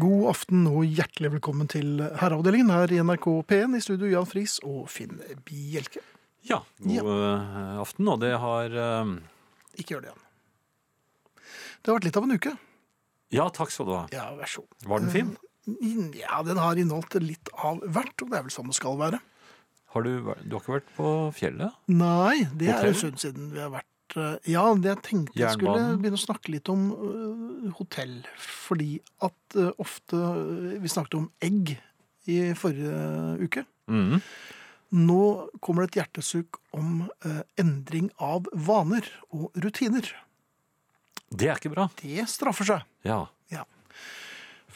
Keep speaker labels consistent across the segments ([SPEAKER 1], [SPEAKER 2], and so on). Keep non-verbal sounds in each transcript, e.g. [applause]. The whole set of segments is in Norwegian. [SPEAKER 1] God aften og hjertelig velkommen til Herreavdelingen her i NRK P1. I studio Jan Friis og Finn Bjelke.
[SPEAKER 2] Ja, god eh, aften. Og det har eh,
[SPEAKER 1] Ikke gjør det igjen. Det har vært litt av en uke.
[SPEAKER 2] Ja, takk skal du ha.
[SPEAKER 1] Ja, vær så god.
[SPEAKER 2] Var den fin?
[SPEAKER 1] Mm, Ja, den har inneholdt litt av hvert, og det er vel sånn det skal være.
[SPEAKER 2] Har du, vært- du har ikke vært på fjellet?
[SPEAKER 1] Nei, det er
[SPEAKER 2] Hotell?
[SPEAKER 1] en stund siden vi har vært eh, Ja, det jeg tenkte jeg skulle
[SPEAKER 2] Jernbanen?
[SPEAKER 1] begynne å snakke litt om eh, hotell. Fordi at eh, ofte eh, Vi snakket om egg i forrige uke.
[SPEAKER 2] Mhm.
[SPEAKER 1] Nå kommer det et hjertesukk om eh, endring av vaner og rutiner.
[SPEAKER 2] Det er ikke bra.
[SPEAKER 1] Det straffer seg.
[SPEAKER 2] Ja.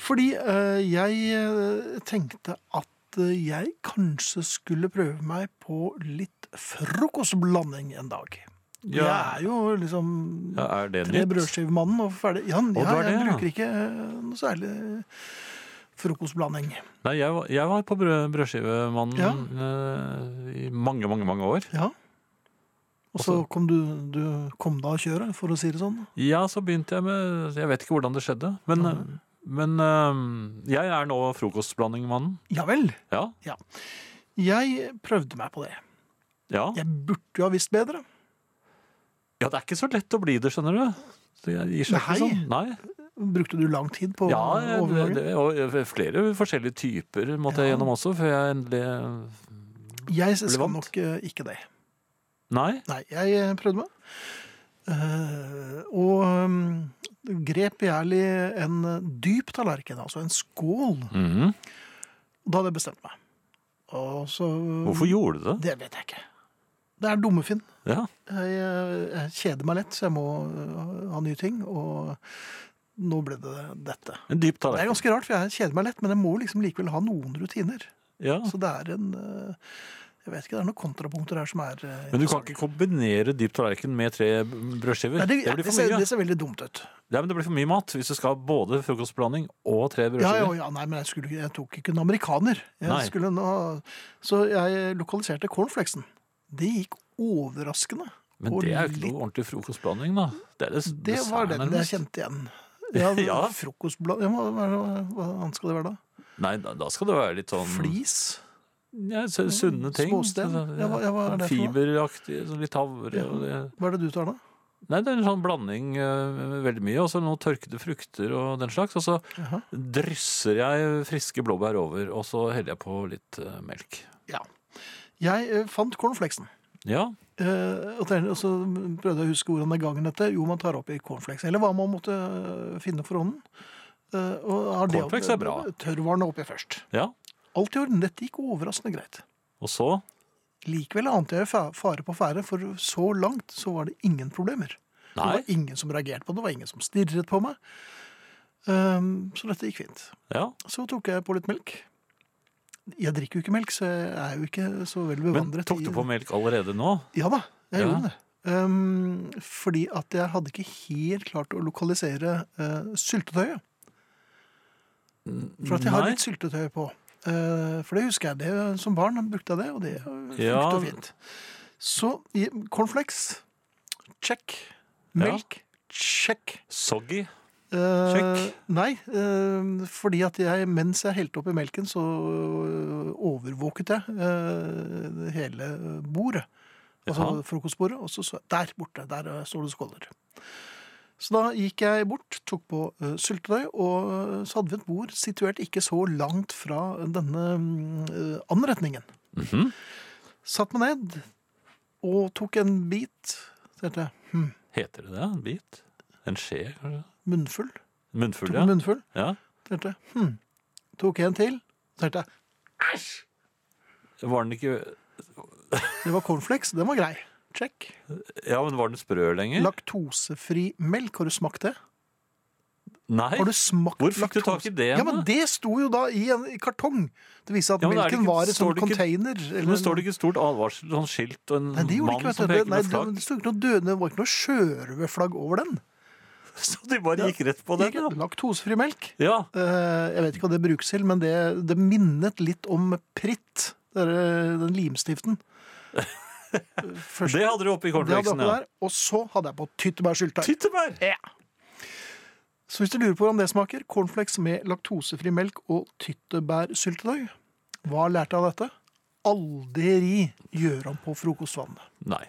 [SPEAKER 1] Fordi eh, jeg eh, tenkte at eh, jeg kanskje skulle prøve meg på litt frokostblanding en dag. Jeg
[SPEAKER 2] Ja.
[SPEAKER 1] er jo liksom
[SPEAKER 2] ja er det
[SPEAKER 1] tre
[SPEAKER 2] nytt?
[SPEAKER 1] brødskivemannen og ferdig. Ja,
[SPEAKER 2] du
[SPEAKER 1] ja
[SPEAKER 2] er
[SPEAKER 1] jeg
[SPEAKER 2] det, ja.
[SPEAKER 1] bruker ikke eh, noe særlig frokostblanding.
[SPEAKER 2] Nei, jeg, var- jeg var på brød, Brødskivemannen
[SPEAKER 1] Ja.
[SPEAKER 2] eh, i mange, mange, mange år.
[SPEAKER 1] Ja. Og så
[SPEAKER 2] Også-
[SPEAKER 1] kom du, du kom deg av kjøret, for å si det sånn.
[SPEAKER 2] Ja, så begynte jeg med Jeg vet ikke hvordan det skjedde, men, eh,
[SPEAKER 1] Mhm.
[SPEAKER 2] men eh, jeg er nå frokostblandingmannen.
[SPEAKER 1] Ja vel.
[SPEAKER 2] Ja.
[SPEAKER 1] Jeg prøvde meg på det.
[SPEAKER 2] Ja.
[SPEAKER 1] Jeg burde jo ha visst bedre.
[SPEAKER 2] ja, det er ikke så lett å bli det, skjønner du. Så jeg gir seg
[SPEAKER 1] Nei.
[SPEAKER 2] ikke sånn. Nei.
[SPEAKER 1] Brukte du lang tid på
[SPEAKER 2] Ja, det,
[SPEAKER 1] overgangen?
[SPEAKER 2] det, og flere forskjellige typer måtte jeg
[SPEAKER 1] Ja.
[SPEAKER 2] gjennom også, før jeg endelig eh,
[SPEAKER 1] jeg
[SPEAKER 2] ble
[SPEAKER 1] skal
[SPEAKER 2] vant.
[SPEAKER 1] nok eh, ikke det.
[SPEAKER 2] Nei.
[SPEAKER 1] Nei, jeg eh, prøvde meg. Eh, og eh, grep gjærlig en eh, dyp tallerken, altså en skål.
[SPEAKER 2] Mhm.
[SPEAKER 1] Da hadde jeg bestemt meg. Og så
[SPEAKER 2] Hvorfor gjorde du det?
[SPEAKER 1] Det vet jeg ikke. Det er dumme Finn.
[SPEAKER 2] Ja.
[SPEAKER 1] Jeg, eh, jeg kjeder meg lett, så jeg må eh, ha nye ting. Og nå ble det dette.
[SPEAKER 2] En dyp
[SPEAKER 1] Det er
[SPEAKER 2] tallerken.
[SPEAKER 1] ganske rart, for jeg kjeder meg lett, men jeg må liksom likevel ha noen rutiner.
[SPEAKER 2] Ja.
[SPEAKER 1] Så det er en eh, Jeg vet ikke, det er noen kontrapunkter her som er eh,
[SPEAKER 2] Men du kan
[SPEAKER 1] interessante.
[SPEAKER 2] ikke kombinere dyp tallerken med tre brødskiver.
[SPEAKER 1] Nei, det,
[SPEAKER 2] det, blir
[SPEAKER 1] det,
[SPEAKER 2] for
[SPEAKER 1] ser,
[SPEAKER 2] mye.
[SPEAKER 1] det ser veldig dumt ut.
[SPEAKER 2] Nei, men det blir for mye mat hvis du skal ha både frokostblanding og tre
[SPEAKER 1] Ja, ja,
[SPEAKER 2] brødskiver.
[SPEAKER 1] ja, nei, men jeg, skulle, ikke- jeg tok ikke en amerikaner. Jeg
[SPEAKER 2] Nei.
[SPEAKER 1] skulle nå, så jeg lokaliserte cornflakesen. Det gikk overraskende.
[SPEAKER 2] Men
[SPEAKER 1] Og
[SPEAKER 2] det er jo ikke
[SPEAKER 1] litt-
[SPEAKER 2] noe ordentlig frokostblanding, da. Det, er det,
[SPEAKER 1] Det var den jeg kjente igjen. Ja,
[SPEAKER 2] [laughs] Ja.
[SPEAKER 1] Frokostblad ja, hva, hva- hva annet skal det være da?
[SPEAKER 2] Nei, da, da skal det være litt sånn
[SPEAKER 1] Flis?
[SPEAKER 2] Ja, så- sunne ting.
[SPEAKER 1] Mm, Småsten.
[SPEAKER 2] Så- sånn
[SPEAKER 1] Ja, hva- ja, hva er det for noe?
[SPEAKER 2] Fiberaktig, sånn litt havre
[SPEAKER 1] Ja.
[SPEAKER 2] og det.
[SPEAKER 1] Hva er det du tar, da?
[SPEAKER 2] Nei, det er en sånn blanding eh, med veldig mye, og så noen tørkede frukter og den slags, og så
[SPEAKER 1] Jaha.
[SPEAKER 2] drysser jeg friske blåbær over, og så heller jeg på litt eh, melk.
[SPEAKER 1] Ja. Jeg eh, fant cornflakesen.
[SPEAKER 2] Ja,
[SPEAKER 1] Eh, og den- og så prøvde jeg å huske hvordan det er gangen dette. Jo, man tar oppi cornflakes. Eller hva man måtte eh, finne for hånden. Eh, og har det-
[SPEAKER 2] Cornflakes er bra.
[SPEAKER 1] Tørrvarene oppi først.
[SPEAKER 2] ja.
[SPEAKER 1] Alt i orden. Dette gikk overraskende greit.
[SPEAKER 2] Og så
[SPEAKER 1] Likevel ante jeg fa- fare på ferde, for så langt så var det ingen problemer. Det
[SPEAKER 2] Nei.
[SPEAKER 1] var ingen som reagerte på det, det var ingen som stirret på meg. Ehm, så dette gikk fint.
[SPEAKER 2] Ja.
[SPEAKER 1] Så tok jeg på litt melk. Jeg drikker jo ikke melk, så jeg er jo ikke så vel
[SPEAKER 2] Men
[SPEAKER 1] bevandret.
[SPEAKER 2] tok
[SPEAKER 1] i-
[SPEAKER 2] du på melk allerede nå?
[SPEAKER 1] Ja da, jeg
[SPEAKER 2] Ja.
[SPEAKER 1] gjorde det. Ehm, fordi at jeg hadde ikke helt klart å lokalisere eh, syltetøyet. For at jeg har
[SPEAKER 2] Nei.
[SPEAKER 1] litt syltetøy på. Eh, for det husker jeg. det Som barn brukte jeg det, og det funket
[SPEAKER 2] Ja.
[SPEAKER 1] og fint. Så i- cornflakes, check.
[SPEAKER 2] Ja.
[SPEAKER 1] Melk, check.
[SPEAKER 2] Soggy?
[SPEAKER 1] Eh,
[SPEAKER 2] Check.
[SPEAKER 1] Nei, eh, fordi at jeg, mens jeg helte oppi melken, så eh, overvåket jeg eh, hele bordet. Altså
[SPEAKER 2] Jaha.
[SPEAKER 1] frokostbordet. Og så så jeg der borte, der eh, står det skåler. Så da gikk jeg bort, tok på eh, syltetøy, og eh, så hadde vi et bord situert ikke så langt fra denne mm, eh, anretningen.
[SPEAKER 2] Mhm.
[SPEAKER 1] Satt meg ned og tok en bit, så tenkte jeg, hm,
[SPEAKER 2] Heter det det? En bit? En skje, kanskje?
[SPEAKER 1] munnfull.
[SPEAKER 2] Munnfull,
[SPEAKER 1] Tok
[SPEAKER 2] ja.
[SPEAKER 1] en munnfull.
[SPEAKER 2] ja.
[SPEAKER 1] Tenkte, jeg, hm. Tok en til. Tenkte jeg,
[SPEAKER 2] Var den ikke
[SPEAKER 1] det var cornflakes, den var grei. Check.
[SPEAKER 2] Ja, men var den sprø lenger?
[SPEAKER 1] Laktosefri melk, har du smakt det?
[SPEAKER 2] Nei.
[SPEAKER 1] Har du smakt
[SPEAKER 2] Hvor fikk du
[SPEAKER 1] laktose-
[SPEAKER 2] tak i det,
[SPEAKER 1] Ja,
[SPEAKER 2] da?
[SPEAKER 1] men Det sto jo da i en i kartong. Det viser at
[SPEAKER 2] Ja, men er det
[SPEAKER 1] melken
[SPEAKER 2] ikke-
[SPEAKER 1] var i
[SPEAKER 2] står
[SPEAKER 1] sånn
[SPEAKER 2] det ikke-
[SPEAKER 1] container. Eller,
[SPEAKER 2] Men står det ikke et stort advarsel, sånn skilt og en
[SPEAKER 1] Nei, det gjorde det
[SPEAKER 2] mann
[SPEAKER 1] ikke.
[SPEAKER 2] som
[SPEAKER 1] Vet
[SPEAKER 2] peker
[SPEAKER 1] du. Nei,
[SPEAKER 2] med
[SPEAKER 1] det,
[SPEAKER 2] flagg?
[SPEAKER 1] det sto ikke noe døde, det var ikke noe sjørøverflagg over den.
[SPEAKER 2] [laughs] Så de bare gikk rett på den.
[SPEAKER 1] Ikke
[SPEAKER 2] da.
[SPEAKER 1] Laktosefri melk.
[SPEAKER 2] Ja,
[SPEAKER 1] Eh, Jeg vet ikke hva det brukes til, men det, det minnet litt om pritt. det er Den
[SPEAKER 2] [laughs]
[SPEAKER 1] limstiften. Først,
[SPEAKER 2] Det hadde du oppi
[SPEAKER 1] det hadde jeg
[SPEAKER 2] cornflakesen.
[SPEAKER 1] oppe
[SPEAKER 2] Ja.
[SPEAKER 1] der, og så hadde jeg på tyttebærsyltetøy.
[SPEAKER 2] Tyttebær!
[SPEAKER 1] Så hvis du lurer på hvordan det smaker, cornflakes med laktosefri melk og tyttebærsyltetøy. Hva lærte jeg av dette? Aldri gjør om på frokostvannet.
[SPEAKER 2] Nei.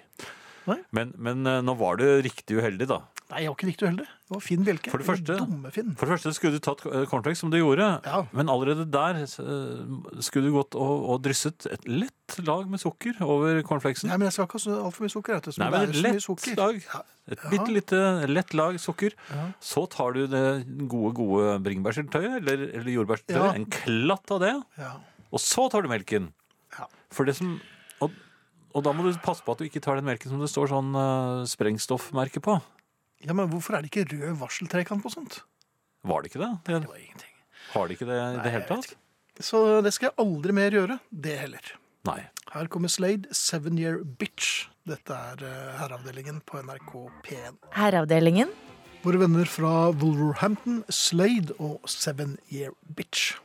[SPEAKER 1] Nei?
[SPEAKER 2] Men, men eh, nå var du riktig uheldig, da.
[SPEAKER 1] Nei, jeg var ikke riktig uheldig. Det var Finn Bjelke.
[SPEAKER 2] For det første-
[SPEAKER 1] Dumme Finn.
[SPEAKER 2] For det første skulle du tatt eh, cornflakes, som du gjorde.
[SPEAKER 1] Ja.
[SPEAKER 2] Men allerede der eh, skulle du gått og, og drysset et lett lag med sukker over cornflakesen.
[SPEAKER 1] Nei, men jeg skal ikke ha så altfor mye sukker. Vet du, så
[SPEAKER 2] Nei,
[SPEAKER 1] det
[SPEAKER 2] men
[SPEAKER 1] er
[SPEAKER 2] et
[SPEAKER 1] så mye
[SPEAKER 2] lett
[SPEAKER 1] sukker.
[SPEAKER 2] lag.
[SPEAKER 1] Ja.
[SPEAKER 2] Et bitte lite lett lag sukker.
[SPEAKER 1] Ja.
[SPEAKER 2] Så tar du det gode, gode bringebærsyltetøyet, eller, eller
[SPEAKER 1] Ja.
[SPEAKER 2] jordbærsyltetøyet, en klatt av det,
[SPEAKER 1] Ja.
[SPEAKER 2] og så tar du melken.
[SPEAKER 1] Ja.
[SPEAKER 2] For det som og, og da må du passe på at du ikke tar den melken som det står sånn eh, sprengstoffmerke på.
[SPEAKER 1] ja, men hvorfor er det ikke rød varseltrekant på sånt?
[SPEAKER 2] Var det ikke det?
[SPEAKER 1] Det var ingenting.
[SPEAKER 2] Har de ikke det i
[SPEAKER 1] Nei,
[SPEAKER 2] det
[SPEAKER 1] jeg
[SPEAKER 2] hele
[SPEAKER 1] vet
[SPEAKER 2] tatt?
[SPEAKER 1] Så det skal jeg aldri mer gjøre. Det heller.
[SPEAKER 2] Nei.
[SPEAKER 1] Her kommer Slade, Seven Year Bitch. Dette er eh, herreavdelingen på NRK P1.
[SPEAKER 3] Herreavdelingen.
[SPEAKER 1] Våre venner fra Wolverhampton, Slade og Seven Year Bitch.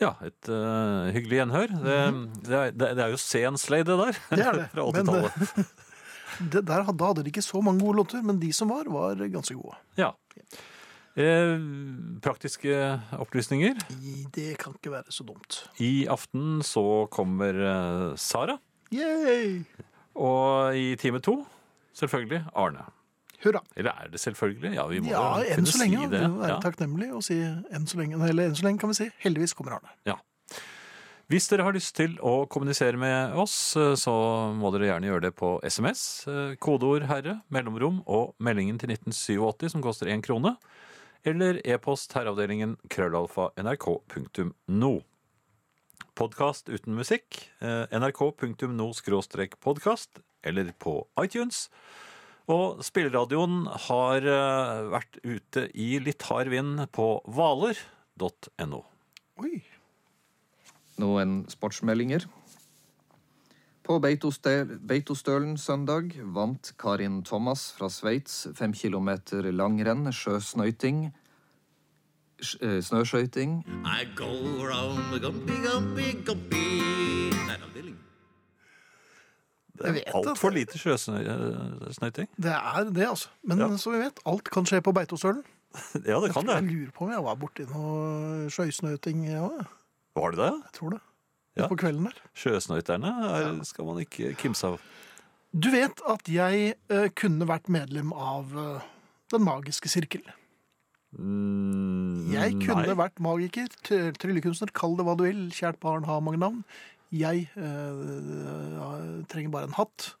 [SPEAKER 2] Ja, et eh, hyggelig gjenhør. Det, det, er, det, det er jo sen slay, det der. [laughs]
[SPEAKER 1] Det er det.
[SPEAKER 2] Fra
[SPEAKER 1] Mhm. Men, eh,
[SPEAKER 2] 80-tallet.
[SPEAKER 1] [laughs] Det der, hadde- da hadde de ikke så mange gode låter, men de som var, var ganske gode.
[SPEAKER 2] Ja. Eh, praktiske opplysninger.
[SPEAKER 1] I- Det kan ikke være så dumt.
[SPEAKER 2] I aften så kommer eh, Sara.
[SPEAKER 1] Yay!
[SPEAKER 2] Og i time to, selvfølgelig, Arne.
[SPEAKER 1] Hurra.
[SPEAKER 2] Eller er det selvfølgelig? Ja, vi må
[SPEAKER 1] Ja,
[SPEAKER 2] jo
[SPEAKER 1] enn
[SPEAKER 2] kunne
[SPEAKER 1] så
[SPEAKER 2] si
[SPEAKER 1] lenge.
[SPEAKER 2] det.
[SPEAKER 1] Det må være
[SPEAKER 2] Ja.
[SPEAKER 1] takknemlig å si enn så lenge. Eller enn så lenge kan vi si heldigvis kommer Arne.
[SPEAKER 2] Hvis dere har lyst til å kommunisere med oss, eh, så må dere gjerne gjøre det på SMS. eh, Kodeord 'herre', mellomrom og meldingen til 1987 som koster én krone. Eller e-post herreavdelingen krøllalfa nrk.no. Podkast uten musikk. eh, nrk.no-podkast eller på iTunes. Og spilleradioen har eh, vært ute i litt hard vind på hvaler.no.
[SPEAKER 1] Oi.
[SPEAKER 4] Noen sportsmeldinger. På Beitoste- Beitostølen søndag vant Karin Thomas fra Sveits fem kilometer langrenn, sjøsnøyting, sj- eh, snøskøyting.
[SPEAKER 5] I go around the gumpy, gumpy, gumpy. Herreavdeling.
[SPEAKER 1] Jeg vet at-
[SPEAKER 2] Altfor lite eh, sjøsnøyting.
[SPEAKER 1] Det er det, altså. Men
[SPEAKER 2] Ja.
[SPEAKER 1] som vi vet, alt kan skje på Beitostølen.
[SPEAKER 2] [laughs] Ja, det kan
[SPEAKER 1] Jeg
[SPEAKER 2] det.
[SPEAKER 1] lurer på om jeg var borti noe sjøsnøting. Ja, jeg
[SPEAKER 2] Var det det?
[SPEAKER 1] tror det.
[SPEAKER 2] Ja.
[SPEAKER 1] På kvelden der.
[SPEAKER 2] Sjøsnøyterne er, skal man ikke kimse av.
[SPEAKER 1] Du vet at jeg eh, kunne vært medlem av eh, Den magiske sirkel.
[SPEAKER 2] Mm,
[SPEAKER 1] Jeg kunne
[SPEAKER 2] nei.
[SPEAKER 1] vært magiker, try- tryllekunstner, kall det hva du vil. Kjært barn har mange navn. Jeg eh, ja, trenger bare en hatt.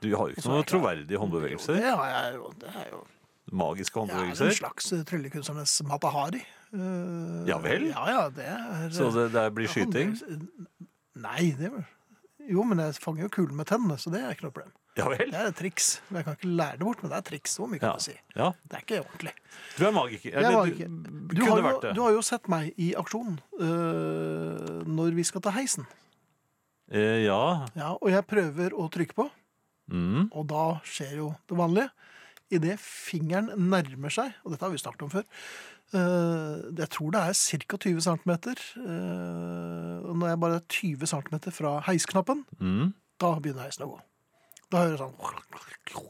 [SPEAKER 2] Du har jo ikke noen troverdige håndbevegelser.
[SPEAKER 1] Det har jeg jo. Det er jo jeg
[SPEAKER 2] Magiske
[SPEAKER 1] er en
[SPEAKER 2] håndbevegelser.
[SPEAKER 1] slags eh, tryllekunstnernes Matahari. Eh,
[SPEAKER 2] Ja vel?
[SPEAKER 1] Ja, ja, det er
[SPEAKER 2] Så det, det blir skyting?
[SPEAKER 1] Nei, det var Jo, men jeg fanger jo kulen med tennene, så det er ikke noe problem.
[SPEAKER 2] Ja vel?
[SPEAKER 1] Det er et triks. Men Jeg kan ikke lære det bort, men det er et triks. Så mye kan
[SPEAKER 2] Ja.
[SPEAKER 1] jeg si.
[SPEAKER 2] ja.
[SPEAKER 1] Det er ikke ordentlig.
[SPEAKER 2] Du er magiker.
[SPEAKER 1] Jeg var
[SPEAKER 2] Eller
[SPEAKER 1] ikke.
[SPEAKER 2] du
[SPEAKER 1] Du, har
[SPEAKER 2] kunne
[SPEAKER 1] jo,
[SPEAKER 2] vært det.
[SPEAKER 1] du har jo sett meg i aksjon øh, når vi skal ta heisen.
[SPEAKER 2] Eh, Ja.
[SPEAKER 1] Ja, og jeg prøver å trykke på,
[SPEAKER 2] Mm.
[SPEAKER 1] og da skjer jo det vanlige. Idet fingeren nærmer seg, og dette har vi snakket om før øh, Jeg tror det er ca. 20 cm. eh, og når jeg bare er 20 cm fra heisknappen,
[SPEAKER 2] Mm.
[SPEAKER 1] Da begynner heisen å gå. Da hører jeg sånn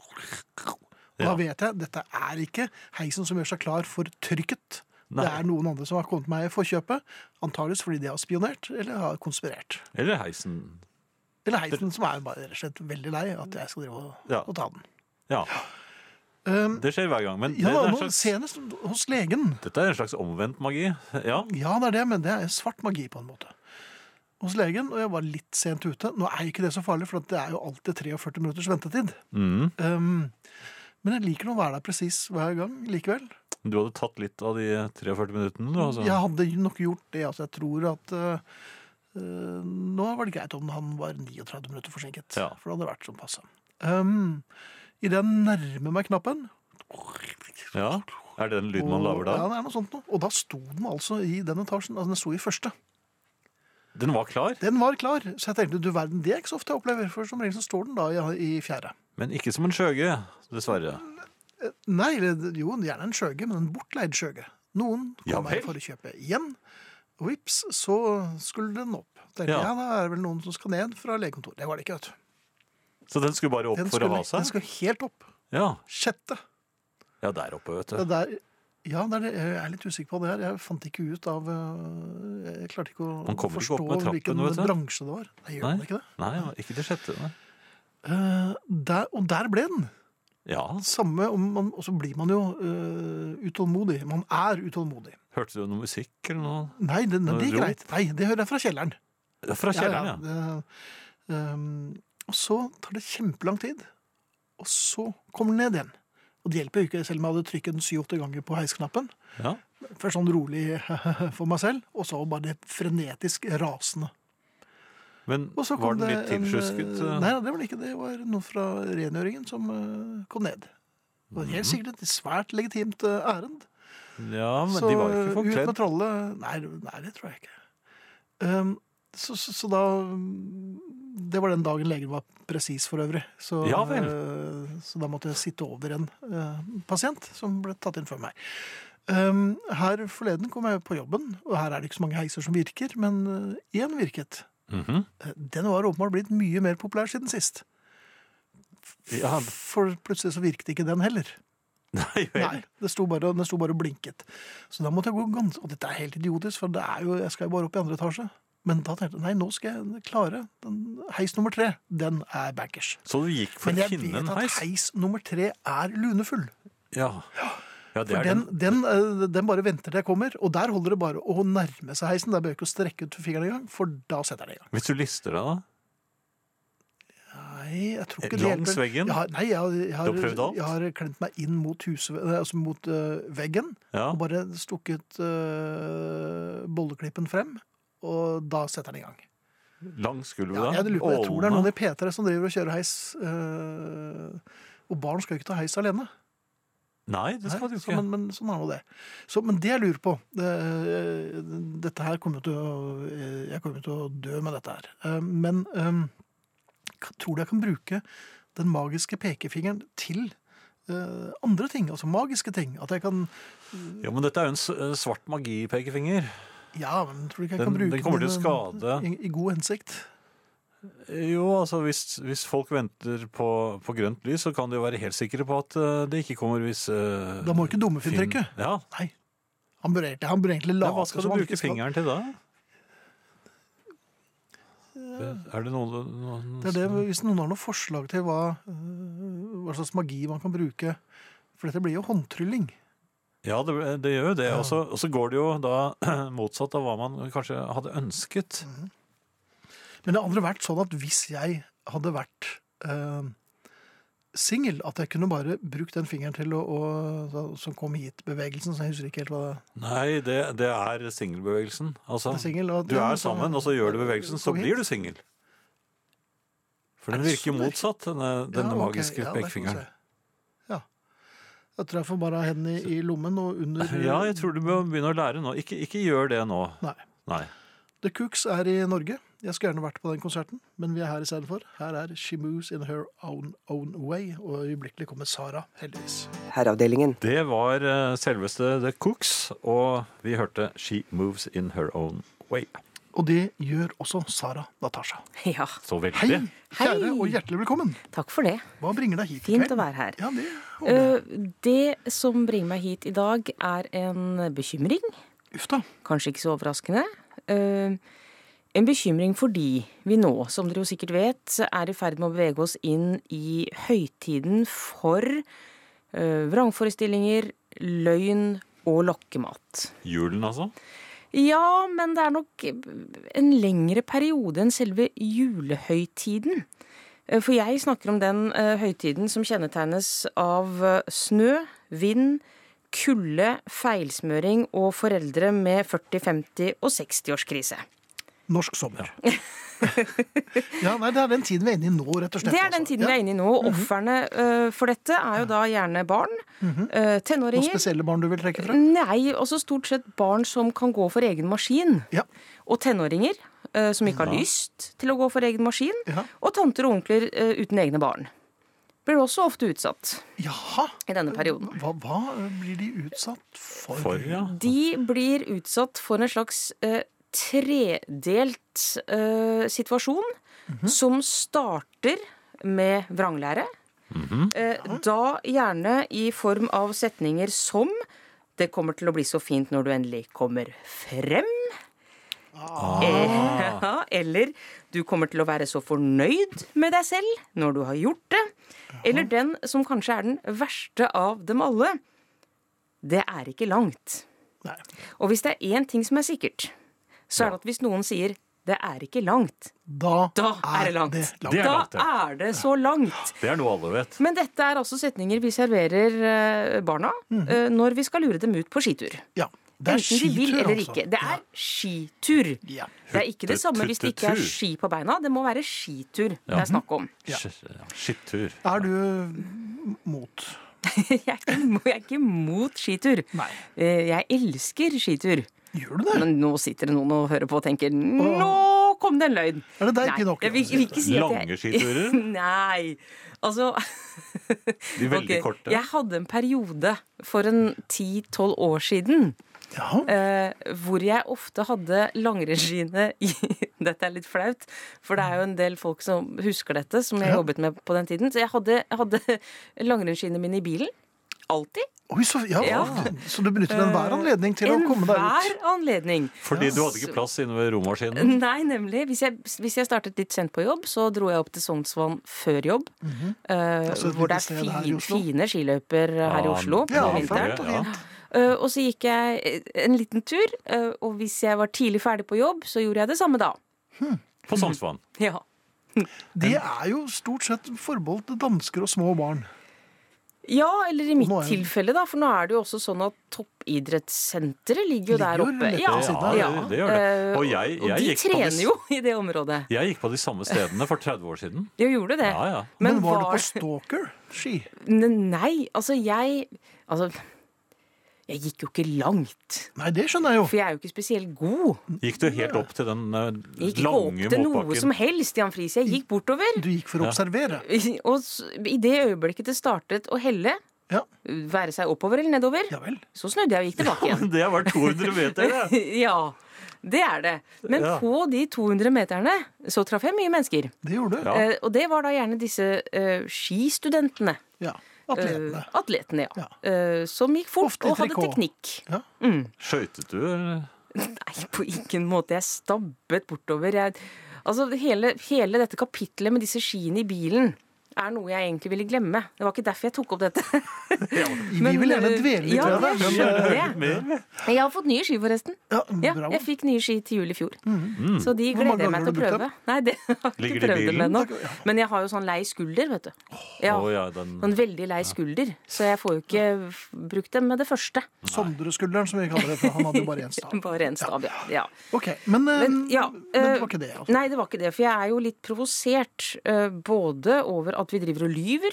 [SPEAKER 1] Og da
[SPEAKER 2] Ja.
[SPEAKER 1] vet jeg dette er ikke heisen som gjør seg klar for trykket.
[SPEAKER 2] Nei.
[SPEAKER 1] Det er noen andre som har kommet meg i forkjøpet, antageligvis fordi de har spionert eller har konspirert.
[SPEAKER 2] Eller heisen.
[SPEAKER 1] Eller heisen som er bare rett og slett veldig lei at jeg skal drive og,
[SPEAKER 2] Ja.
[SPEAKER 1] og ta den.
[SPEAKER 2] Ja.
[SPEAKER 1] Um,
[SPEAKER 2] Det skjer hver gang. Men det
[SPEAKER 1] ja,
[SPEAKER 2] er en
[SPEAKER 1] nå,
[SPEAKER 2] slags,
[SPEAKER 1] senest hos legen.
[SPEAKER 2] dette er en slags omvendt magi. Ja.
[SPEAKER 1] Ja, det er det, men det er svart magi på en måte. Hos legen, og jeg var litt sent ute. Nå er jo ikke det så farlig, for at det er jo alltid 43 minutters ventetid.
[SPEAKER 2] Mm.
[SPEAKER 1] Um, men jeg liker nå å være der presis hver gang likevel.
[SPEAKER 2] Du hadde tatt litt av de 43 minuttene, du, altså.
[SPEAKER 1] Jeg hadde nok gjort det. Altså, jeg tror at eh, eh, Nå var det greit om han var 39 minutter forsinket,
[SPEAKER 2] Ja.
[SPEAKER 1] for det hadde vært sånn passe. Um, Idet jeg nærmer meg knappen
[SPEAKER 2] Ja. Er det den lyden man
[SPEAKER 1] og-
[SPEAKER 2] lager da?
[SPEAKER 1] Ja, det er noe sånt noe. Og da sto den altså i den etasjen. Altså, den sto i første.
[SPEAKER 2] Den var klar,
[SPEAKER 1] Den var klar, så jeg tenkte du verden, det er ikke så ofte jeg opplever. For som regel så står den da i, i fjerde.
[SPEAKER 2] men ikke som en skjøge, dessverre.
[SPEAKER 1] Nei, eller jo, gjerne en skjøge, men en bortleid skjøge. Noen kom
[SPEAKER 2] Ja
[SPEAKER 1] her
[SPEAKER 2] vel.
[SPEAKER 1] for å kjøpe igjen. Og vips, så skulle den opp. Tenkte,
[SPEAKER 2] Ja.
[SPEAKER 1] ja. da er det vel noen som skal ned fra legekontoret. Det var det ikke, vet du.
[SPEAKER 2] Så den skulle bare opp
[SPEAKER 1] Den
[SPEAKER 2] for å
[SPEAKER 1] skulle,
[SPEAKER 2] ha
[SPEAKER 1] den
[SPEAKER 2] seg?
[SPEAKER 1] skulle helt opp.
[SPEAKER 2] Ja.
[SPEAKER 1] Sjette.
[SPEAKER 2] ja, der oppe, vet
[SPEAKER 1] Det
[SPEAKER 2] du.
[SPEAKER 1] der, ja, det er det, jeg er litt usikker på det her. Jeg fant ikke ut av øh, Jeg klarte ikke
[SPEAKER 2] Man
[SPEAKER 1] å
[SPEAKER 2] kommer ikke
[SPEAKER 1] forstå
[SPEAKER 2] opp med trappen,
[SPEAKER 1] hvilken
[SPEAKER 2] vet du.
[SPEAKER 1] bransje det var. Nei, gjør
[SPEAKER 2] Nei.
[SPEAKER 1] man ikke det?
[SPEAKER 2] Nei, ja, ikke det sjette. Nei.
[SPEAKER 1] Eh, der, og der ble den.
[SPEAKER 2] Ja,
[SPEAKER 1] Samme om man, Og så blir man jo øh, utålmodig. Man er utålmodig.
[SPEAKER 2] hørte du noe musikk eller noe?
[SPEAKER 1] Nei, det, det, det er
[SPEAKER 2] Rop.
[SPEAKER 1] greit. Nei, det hører jeg fra kjelleren.
[SPEAKER 2] Ja, Fra kjelleren, ja.
[SPEAKER 1] det- ehm, og så tar det kjempelang tid, og så kommer den ned igjen. Og det hjelper jo ikke selv om jeg hadde trykket den syv-åtte ganger på heisknappen.
[SPEAKER 2] ja.
[SPEAKER 1] Først sånn rolig [laughs] for meg selv, og så bare det frenetisk rasende.
[SPEAKER 2] Men
[SPEAKER 1] Og så
[SPEAKER 2] var
[SPEAKER 1] kom
[SPEAKER 2] den litt
[SPEAKER 1] det en,
[SPEAKER 2] tilsjusket?
[SPEAKER 1] eh,
[SPEAKER 2] eh?
[SPEAKER 1] Nei, det var det ikke. Det var noen fra rengjøringen som eh, kom ned. Det var
[SPEAKER 2] Mhm.
[SPEAKER 1] helt sikkert et svært legitimt eh, ærend.
[SPEAKER 2] Ja, men
[SPEAKER 1] Så eh,
[SPEAKER 2] de var jo ikke
[SPEAKER 1] ut med
[SPEAKER 2] forkledd.
[SPEAKER 1] trollet nei, nei, det tror jeg ikke. Ehm, så, så, så da Det var den dagen legen var presis, for øvrig. Så,
[SPEAKER 2] Ja vel.
[SPEAKER 1] eh, så da måtte jeg sitte over en eh, pasient som ble tatt inn før meg. Ehm, her forleden kom jeg på jobben, og her er det ikke så mange heiser som virker, men eh, én virket.
[SPEAKER 2] Mhm.
[SPEAKER 1] Eh, Den var åpenbart blitt mye mer populær siden sist.
[SPEAKER 2] Ja.
[SPEAKER 1] For plutselig så virket ikke den heller.
[SPEAKER 2] Nei vel.
[SPEAKER 1] Nei, det sto bare, den sto bare og blinket. Så da måtte jeg gå ganske Og dette er helt idiotisk, for det er jo, jeg skal jo bare opp i andre etasje. Men da tenkte jeg nei, nå skal jeg klare den, heis nummer tre. Den er bankers.
[SPEAKER 2] Så du gikk for
[SPEAKER 1] Men
[SPEAKER 2] å
[SPEAKER 1] jeg
[SPEAKER 2] finne
[SPEAKER 1] vet
[SPEAKER 2] en
[SPEAKER 1] at
[SPEAKER 2] heis?
[SPEAKER 1] heis nummer tre er lunefull.
[SPEAKER 2] Ja. ja, det
[SPEAKER 1] For
[SPEAKER 2] er
[SPEAKER 1] den,
[SPEAKER 2] den.
[SPEAKER 1] den, eh, den bare venter til jeg kommer, og der holder det bare å nærme seg heisen. Der bør jeg ikke strekke ut fingeren engang, for da setter jeg den i gang.
[SPEAKER 2] Hvis du lister deg, da?
[SPEAKER 1] Nei, jeg tror ikke det
[SPEAKER 2] Langs
[SPEAKER 1] hjelper.
[SPEAKER 2] veggen?
[SPEAKER 1] Jeg har, nei, jeg har, jeg
[SPEAKER 2] Du har prøvd
[SPEAKER 1] har,
[SPEAKER 2] alt?
[SPEAKER 1] jeg har klemt meg inn mot, huset, altså mot eh, veggen.
[SPEAKER 2] Ja.
[SPEAKER 1] og bare stukket øh, bolleklippen frem, og da setter den i gang.
[SPEAKER 2] Langs gulvet,
[SPEAKER 1] Ja,
[SPEAKER 2] da?
[SPEAKER 1] jeg, lurer på, jeg tror det er
[SPEAKER 2] Ålene.
[SPEAKER 1] noen i P3 som driver og kjører heis, øh, og barn skal jo ikke ta heis alene.
[SPEAKER 2] Nei, det skal
[SPEAKER 1] Nei,
[SPEAKER 2] du
[SPEAKER 1] så,
[SPEAKER 2] ikke.
[SPEAKER 1] men, men sånn er nå det. Så, men det jeg lurer på det, øh, Dette her kommer jo til å Jeg kommer jo til å dø med dette her. Eh, Men eh, k- tror du jeg kan bruke den magiske pekefingeren til eh, andre ting? Altså magiske ting? At jeg kan
[SPEAKER 2] Ja, men dette er jo en s- eh, svart magi-pekefinger.
[SPEAKER 1] Ja, men tror du ikke jeg
[SPEAKER 2] Den-
[SPEAKER 1] kan bruke
[SPEAKER 2] den kommer til å
[SPEAKER 1] den, øh,
[SPEAKER 2] skade.
[SPEAKER 1] I, I god hensikt.
[SPEAKER 2] Jo, altså hvis, hvis folk venter på, på grønt lys, så kan de jo være helt sikre på at eh, det ikke kommer hvis eh,
[SPEAKER 1] Da må ikke dumme Finn
[SPEAKER 2] Finn-
[SPEAKER 1] trykke.
[SPEAKER 2] Ja.
[SPEAKER 1] Nei. Han bør egentlig, han bør egentlig
[SPEAKER 2] ja,
[SPEAKER 1] late
[SPEAKER 2] hva skal du
[SPEAKER 1] som han
[SPEAKER 2] bruke
[SPEAKER 1] ikke skal-
[SPEAKER 2] fingeren til da? Er det noe, noen
[SPEAKER 1] Eh. Det er det, hvis noen har noen forslag til hva, øh, hva slags magi man kan bruke For dette blir jo håndtrylling.
[SPEAKER 2] Ja, det, det gjør jo det.
[SPEAKER 1] Ja.
[SPEAKER 2] Og så- Og så går det jo da [clears throat] motsatt av hva man kanskje hadde ønsket.
[SPEAKER 1] Mhm. Men det hadde vært sånn at hvis jeg hadde vært øh, singel, at jeg kunne bare brukt den fingeren til å, å da- Som kom hit-bevegelsen, så jeg husker ikke helt hva
[SPEAKER 2] Nei, det, det er singelbevegelsen. Altså,
[SPEAKER 1] det er singel. og-
[SPEAKER 2] du
[SPEAKER 1] ja,
[SPEAKER 2] er
[SPEAKER 1] men så-
[SPEAKER 2] sammen, og så gjør du bevegelsen, så
[SPEAKER 1] kom hit.
[SPEAKER 2] blir du singel. For den
[SPEAKER 1] Er det
[SPEAKER 2] virker
[SPEAKER 1] sånn det er?
[SPEAKER 2] motsatt, denne, denne
[SPEAKER 1] Ja, ok,
[SPEAKER 2] magiske
[SPEAKER 1] ja, der kan du
[SPEAKER 2] pekefingeren.
[SPEAKER 1] se. Ja. Jeg tror jeg får bare ha hendene i, i lommen og under
[SPEAKER 2] [laughs] Ja, jeg tror du må begynne å lære nå. Ikke, ikke gjør det nå.
[SPEAKER 1] Nei.
[SPEAKER 2] Nei.
[SPEAKER 1] The Cooks er i Norge. Jeg skulle gjerne vært på den konserten, men vi er her istedenfor. Her er She Moves In Her Own Own Way, og øyeblikkelig kommer Sara, heldigvis.
[SPEAKER 3] Herreavdelingen.
[SPEAKER 2] Det var eh, selveste The Cooks, og vi hørte She Moves In Her Own Way.
[SPEAKER 1] Og det gjør også Sara Natasha.
[SPEAKER 6] Ja,
[SPEAKER 2] Så
[SPEAKER 1] Hei,
[SPEAKER 2] veldig.
[SPEAKER 1] kjære,
[SPEAKER 6] Hei.
[SPEAKER 1] og hjertelig velkommen.
[SPEAKER 6] takk for det.
[SPEAKER 1] Hva bringer deg hit i
[SPEAKER 6] Fint
[SPEAKER 1] kveld?
[SPEAKER 6] å være her.
[SPEAKER 1] Ja, det håper jeg.
[SPEAKER 6] Eh, Det som bringer meg hit i dag, er en bekymring.
[SPEAKER 1] Uff da.
[SPEAKER 6] Kanskje ikke så overraskende. Eh, En bekymring fordi vi nå, som dere jo sikkert vet, er i ferd med å bevege oss inn i høytiden for eh, vrangforestillinger, løgn og lokkemat.
[SPEAKER 2] Julen, altså.
[SPEAKER 6] Ja, men det er nok en lengre periode enn selve julehøytiden. Eh, For jeg snakker om den eh, høytiden som kjennetegnes av eh, snø, vind, kulde, feilsmøring og foreldre med 40-, 50- og 60-årskrise.
[SPEAKER 1] Norsk sommer. [laughs] Ja. nei, Det er den tiden vi er inne i nå, rett og slett.
[SPEAKER 6] Det er den
[SPEAKER 1] altså.
[SPEAKER 6] tiden vi er inne i nå. og Ofrene eh, for dette er jo da gjerne barn, eh,
[SPEAKER 1] ja. Noen
[SPEAKER 6] tenåringer.
[SPEAKER 1] spesielle barn du vil trekke
[SPEAKER 6] Mm.
[SPEAKER 1] frem?
[SPEAKER 6] Nei, også stort sett barn som kan gå for egen maskin.
[SPEAKER 1] Ja.
[SPEAKER 6] Og tenåringer eh, som ikke har lyst til å gå for egen maskin.
[SPEAKER 1] Ja.
[SPEAKER 6] Og tanter og onkler eh, uten egne barn. blir også ofte utsatt
[SPEAKER 1] Jaha!
[SPEAKER 6] i denne perioden.
[SPEAKER 1] Hva, hva blir de utsatt for?
[SPEAKER 2] For, ja.
[SPEAKER 6] De blir utsatt for en slags eh, tredelt eh, situasjon som starter med vranglære. eh, da gjerne i form av setninger som det kommer til å bli så fint når du endelig kommer frem. Eh, [laughs] ja, eller du kommer til å være så fornøyd med deg selv når du har gjort det. Eller den som kanskje er den verste av dem alle. Det er ikke langt.
[SPEAKER 1] Nei.
[SPEAKER 6] Og hvis det er én ting som er sikkert, så er det at hvis noen sier 'det er ikke langt',
[SPEAKER 1] Da,
[SPEAKER 6] da
[SPEAKER 1] Ah,
[SPEAKER 6] er det langt.
[SPEAKER 2] Det er langt,
[SPEAKER 6] da
[SPEAKER 2] ja.
[SPEAKER 6] er det så langt.
[SPEAKER 2] Det er noe alle vet.
[SPEAKER 6] Men dette er altså setninger vi serverer eh, barna eh, når vi skal lure dem ut på skitur.
[SPEAKER 1] Ja. Mm. Det er
[SPEAKER 6] Enten de vil
[SPEAKER 1] skitur,
[SPEAKER 6] eller
[SPEAKER 1] altså.
[SPEAKER 6] ikke. Det er skitur.
[SPEAKER 1] Ja.
[SPEAKER 6] Det er ikke det samme hvis det ikke er
[SPEAKER 2] Huttetur.
[SPEAKER 6] ski på beina. Det må være skitur det er snakk om. [laughs]
[SPEAKER 1] Ja.
[SPEAKER 2] Skittur.
[SPEAKER 1] Er du mot?
[SPEAKER 6] Jeg er ikke, imot- jeg er ikke imot skitur.
[SPEAKER 1] Nei.
[SPEAKER 6] Eh, Jeg elsker skitur.
[SPEAKER 1] Gjør du det?
[SPEAKER 6] Men nå sitter det noen og hører på og tenker Nå kom det en løgn!
[SPEAKER 1] Er det deg, Pinocchio,
[SPEAKER 6] jeg vil,
[SPEAKER 1] som
[SPEAKER 6] vil ikke si at
[SPEAKER 2] Lange
[SPEAKER 6] jeg...
[SPEAKER 2] skiturer?
[SPEAKER 6] [laughs] Nei. Altså
[SPEAKER 2] [laughs] De veldig
[SPEAKER 6] ok,
[SPEAKER 2] korte.
[SPEAKER 6] Jeg hadde en periode for en 10-12 år siden
[SPEAKER 1] Ja.
[SPEAKER 6] eh, hvor jeg ofte hadde langrennsskiene i [laughs] Dette er litt flaut, for det er jo en del folk som husker dette, som jeg
[SPEAKER 1] Ja.
[SPEAKER 6] jobbet med på den tiden. Så jeg hadde, jeg hadde [laughs] langrennsskiene mine i bilen. Alltid.
[SPEAKER 1] Oi, så, ja,
[SPEAKER 6] Ja. Eh,
[SPEAKER 1] så du benytter enhver anledning til å komme deg
[SPEAKER 6] Enhver
[SPEAKER 1] ut?
[SPEAKER 6] anledning.
[SPEAKER 2] Fordi du hadde ikke plass inne ved romaskinen.
[SPEAKER 6] [laughs] Nei, nemlig. Hvis jeg, hvis jeg startet litt sent på jobb, så dro jeg opp til Sognsvann før jobb. eh,
[SPEAKER 1] Altså et
[SPEAKER 6] hvor
[SPEAKER 1] lite
[SPEAKER 6] det er
[SPEAKER 1] sted her i
[SPEAKER 6] fin,
[SPEAKER 1] Oslo.
[SPEAKER 6] fine skiløyper eh, her i
[SPEAKER 2] Ja,
[SPEAKER 6] Oslo. på
[SPEAKER 1] Ja,
[SPEAKER 2] Anledning.
[SPEAKER 6] vinteren.
[SPEAKER 1] flott og fint.
[SPEAKER 6] Eh, og så gikk jeg eh, en liten tur, eh, og hvis jeg var tidlig ferdig på jobb, så gjorde jeg det samme da.
[SPEAKER 2] På Sognsvann.
[SPEAKER 6] Ja.
[SPEAKER 1] Det er jo stort sett forbeholdt dansker og små barn.
[SPEAKER 6] Ja, eller i mitt
[SPEAKER 1] nå er det-
[SPEAKER 6] tilfelle, da, for nå er det jo også sånn at toppidrettssenteret ligger jo
[SPEAKER 1] Ligger
[SPEAKER 6] der
[SPEAKER 1] jo
[SPEAKER 6] oppe.
[SPEAKER 1] rett ved siden av.
[SPEAKER 2] Ja, det- det gjør det.
[SPEAKER 6] altså, Eh,
[SPEAKER 2] Og jeg-
[SPEAKER 6] og
[SPEAKER 2] jeg
[SPEAKER 6] de
[SPEAKER 2] gikk på det
[SPEAKER 6] trener
[SPEAKER 2] s-
[SPEAKER 6] jo i det området.
[SPEAKER 2] Jeg gikk på de samme stedene for 30 år siden.
[SPEAKER 6] De gjorde det.
[SPEAKER 2] Ja, ja.
[SPEAKER 1] Men, var, du på stalker-ski?
[SPEAKER 6] N- Nei, altså jeg Altså, jeg gikk jo ikke langt.
[SPEAKER 1] Nei, det skjønner jeg jo.
[SPEAKER 6] For jeg er jo ikke spesielt god.
[SPEAKER 2] Gikk du helt opp til den eh,
[SPEAKER 6] Jeg gikk ikke opp
[SPEAKER 2] lange
[SPEAKER 6] til noe som
[SPEAKER 2] motbakken?
[SPEAKER 6] helst, Jan Friis. Jeg gikk bortover.
[SPEAKER 1] Du gikk for å observere.
[SPEAKER 6] Og s- i det øyeblikket det startet å helle,
[SPEAKER 1] Ja,
[SPEAKER 6] være seg oppover eller nedover,
[SPEAKER 1] ja vel.
[SPEAKER 6] så snudde jeg og gikk tilbake
[SPEAKER 2] [laughs]
[SPEAKER 6] igjen.
[SPEAKER 2] Det var 200 meter,
[SPEAKER 6] [laughs]
[SPEAKER 2] det.
[SPEAKER 6] Ja, det er det. Men
[SPEAKER 2] Ja.
[SPEAKER 6] på de 200 meterne så traff jeg mye mennesker.
[SPEAKER 1] Det gjorde du.
[SPEAKER 2] Ja.
[SPEAKER 6] Eh, og det var da gjerne disse eh, skistudentene.
[SPEAKER 1] Ja.
[SPEAKER 6] Eh,
[SPEAKER 1] Atletene.
[SPEAKER 6] atletene, ja.
[SPEAKER 1] Ja.
[SPEAKER 6] Eh, som gikk fort
[SPEAKER 1] Ofte i
[SPEAKER 6] og hadde
[SPEAKER 1] trikot.
[SPEAKER 6] teknikk.
[SPEAKER 1] Ja.
[SPEAKER 2] Skøytet du, eh, eller?
[SPEAKER 6] Nei, på ingen måte. Jeg stabbet bortover. Jeg, altså, hele, hele dette kapitlet med disse skiene i bilen er noe jeg egentlig ville glemme. Det var ikke derfor jeg tok opp dette. eh,
[SPEAKER 1] Vi vil gjerne dvele litt
[SPEAKER 6] ja,
[SPEAKER 1] ved det.
[SPEAKER 6] jeg skjønner det. Jeg har fått nye ski, forresten.
[SPEAKER 1] Ja,
[SPEAKER 6] Ja,
[SPEAKER 1] bra. Mm,
[SPEAKER 6] jeg fikk nye ski til jul i fjor. Så de
[SPEAKER 1] Hvor mange ganger
[SPEAKER 6] gleder jeg meg til å
[SPEAKER 1] har du brukt
[SPEAKER 6] prøve. Nei, det [laughs] har jeg
[SPEAKER 2] Ligger
[SPEAKER 6] ikke
[SPEAKER 2] de i
[SPEAKER 6] prøvd dem
[SPEAKER 2] bilen?
[SPEAKER 6] ennå. Men jeg har jo sånn lei skulder, vet du. Ja,
[SPEAKER 2] Å, ja, den-
[SPEAKER 6] Sånn veldig lei skulder. Så jeg får jo ikke f- brukt dem med det første.
[SPEAKER 1] Sondreskulderen, som vi kaller det. For han hadde jo bare én stav.
[SPEAKER 6] [laughs] Bare en stav, ja. ja.
[SPEAKER 1] Ok, men, eh,
[SPEAKER 6] Men, ja,
[SPEAKER 1] men det
[SPEAKER 6] eh,
[SPEAKER 1] var ikke det. Altså.
[SPEAKER 6] Nei, det var ikke det. For jeg er jo litt provosert eh, både over at vi driver og lyver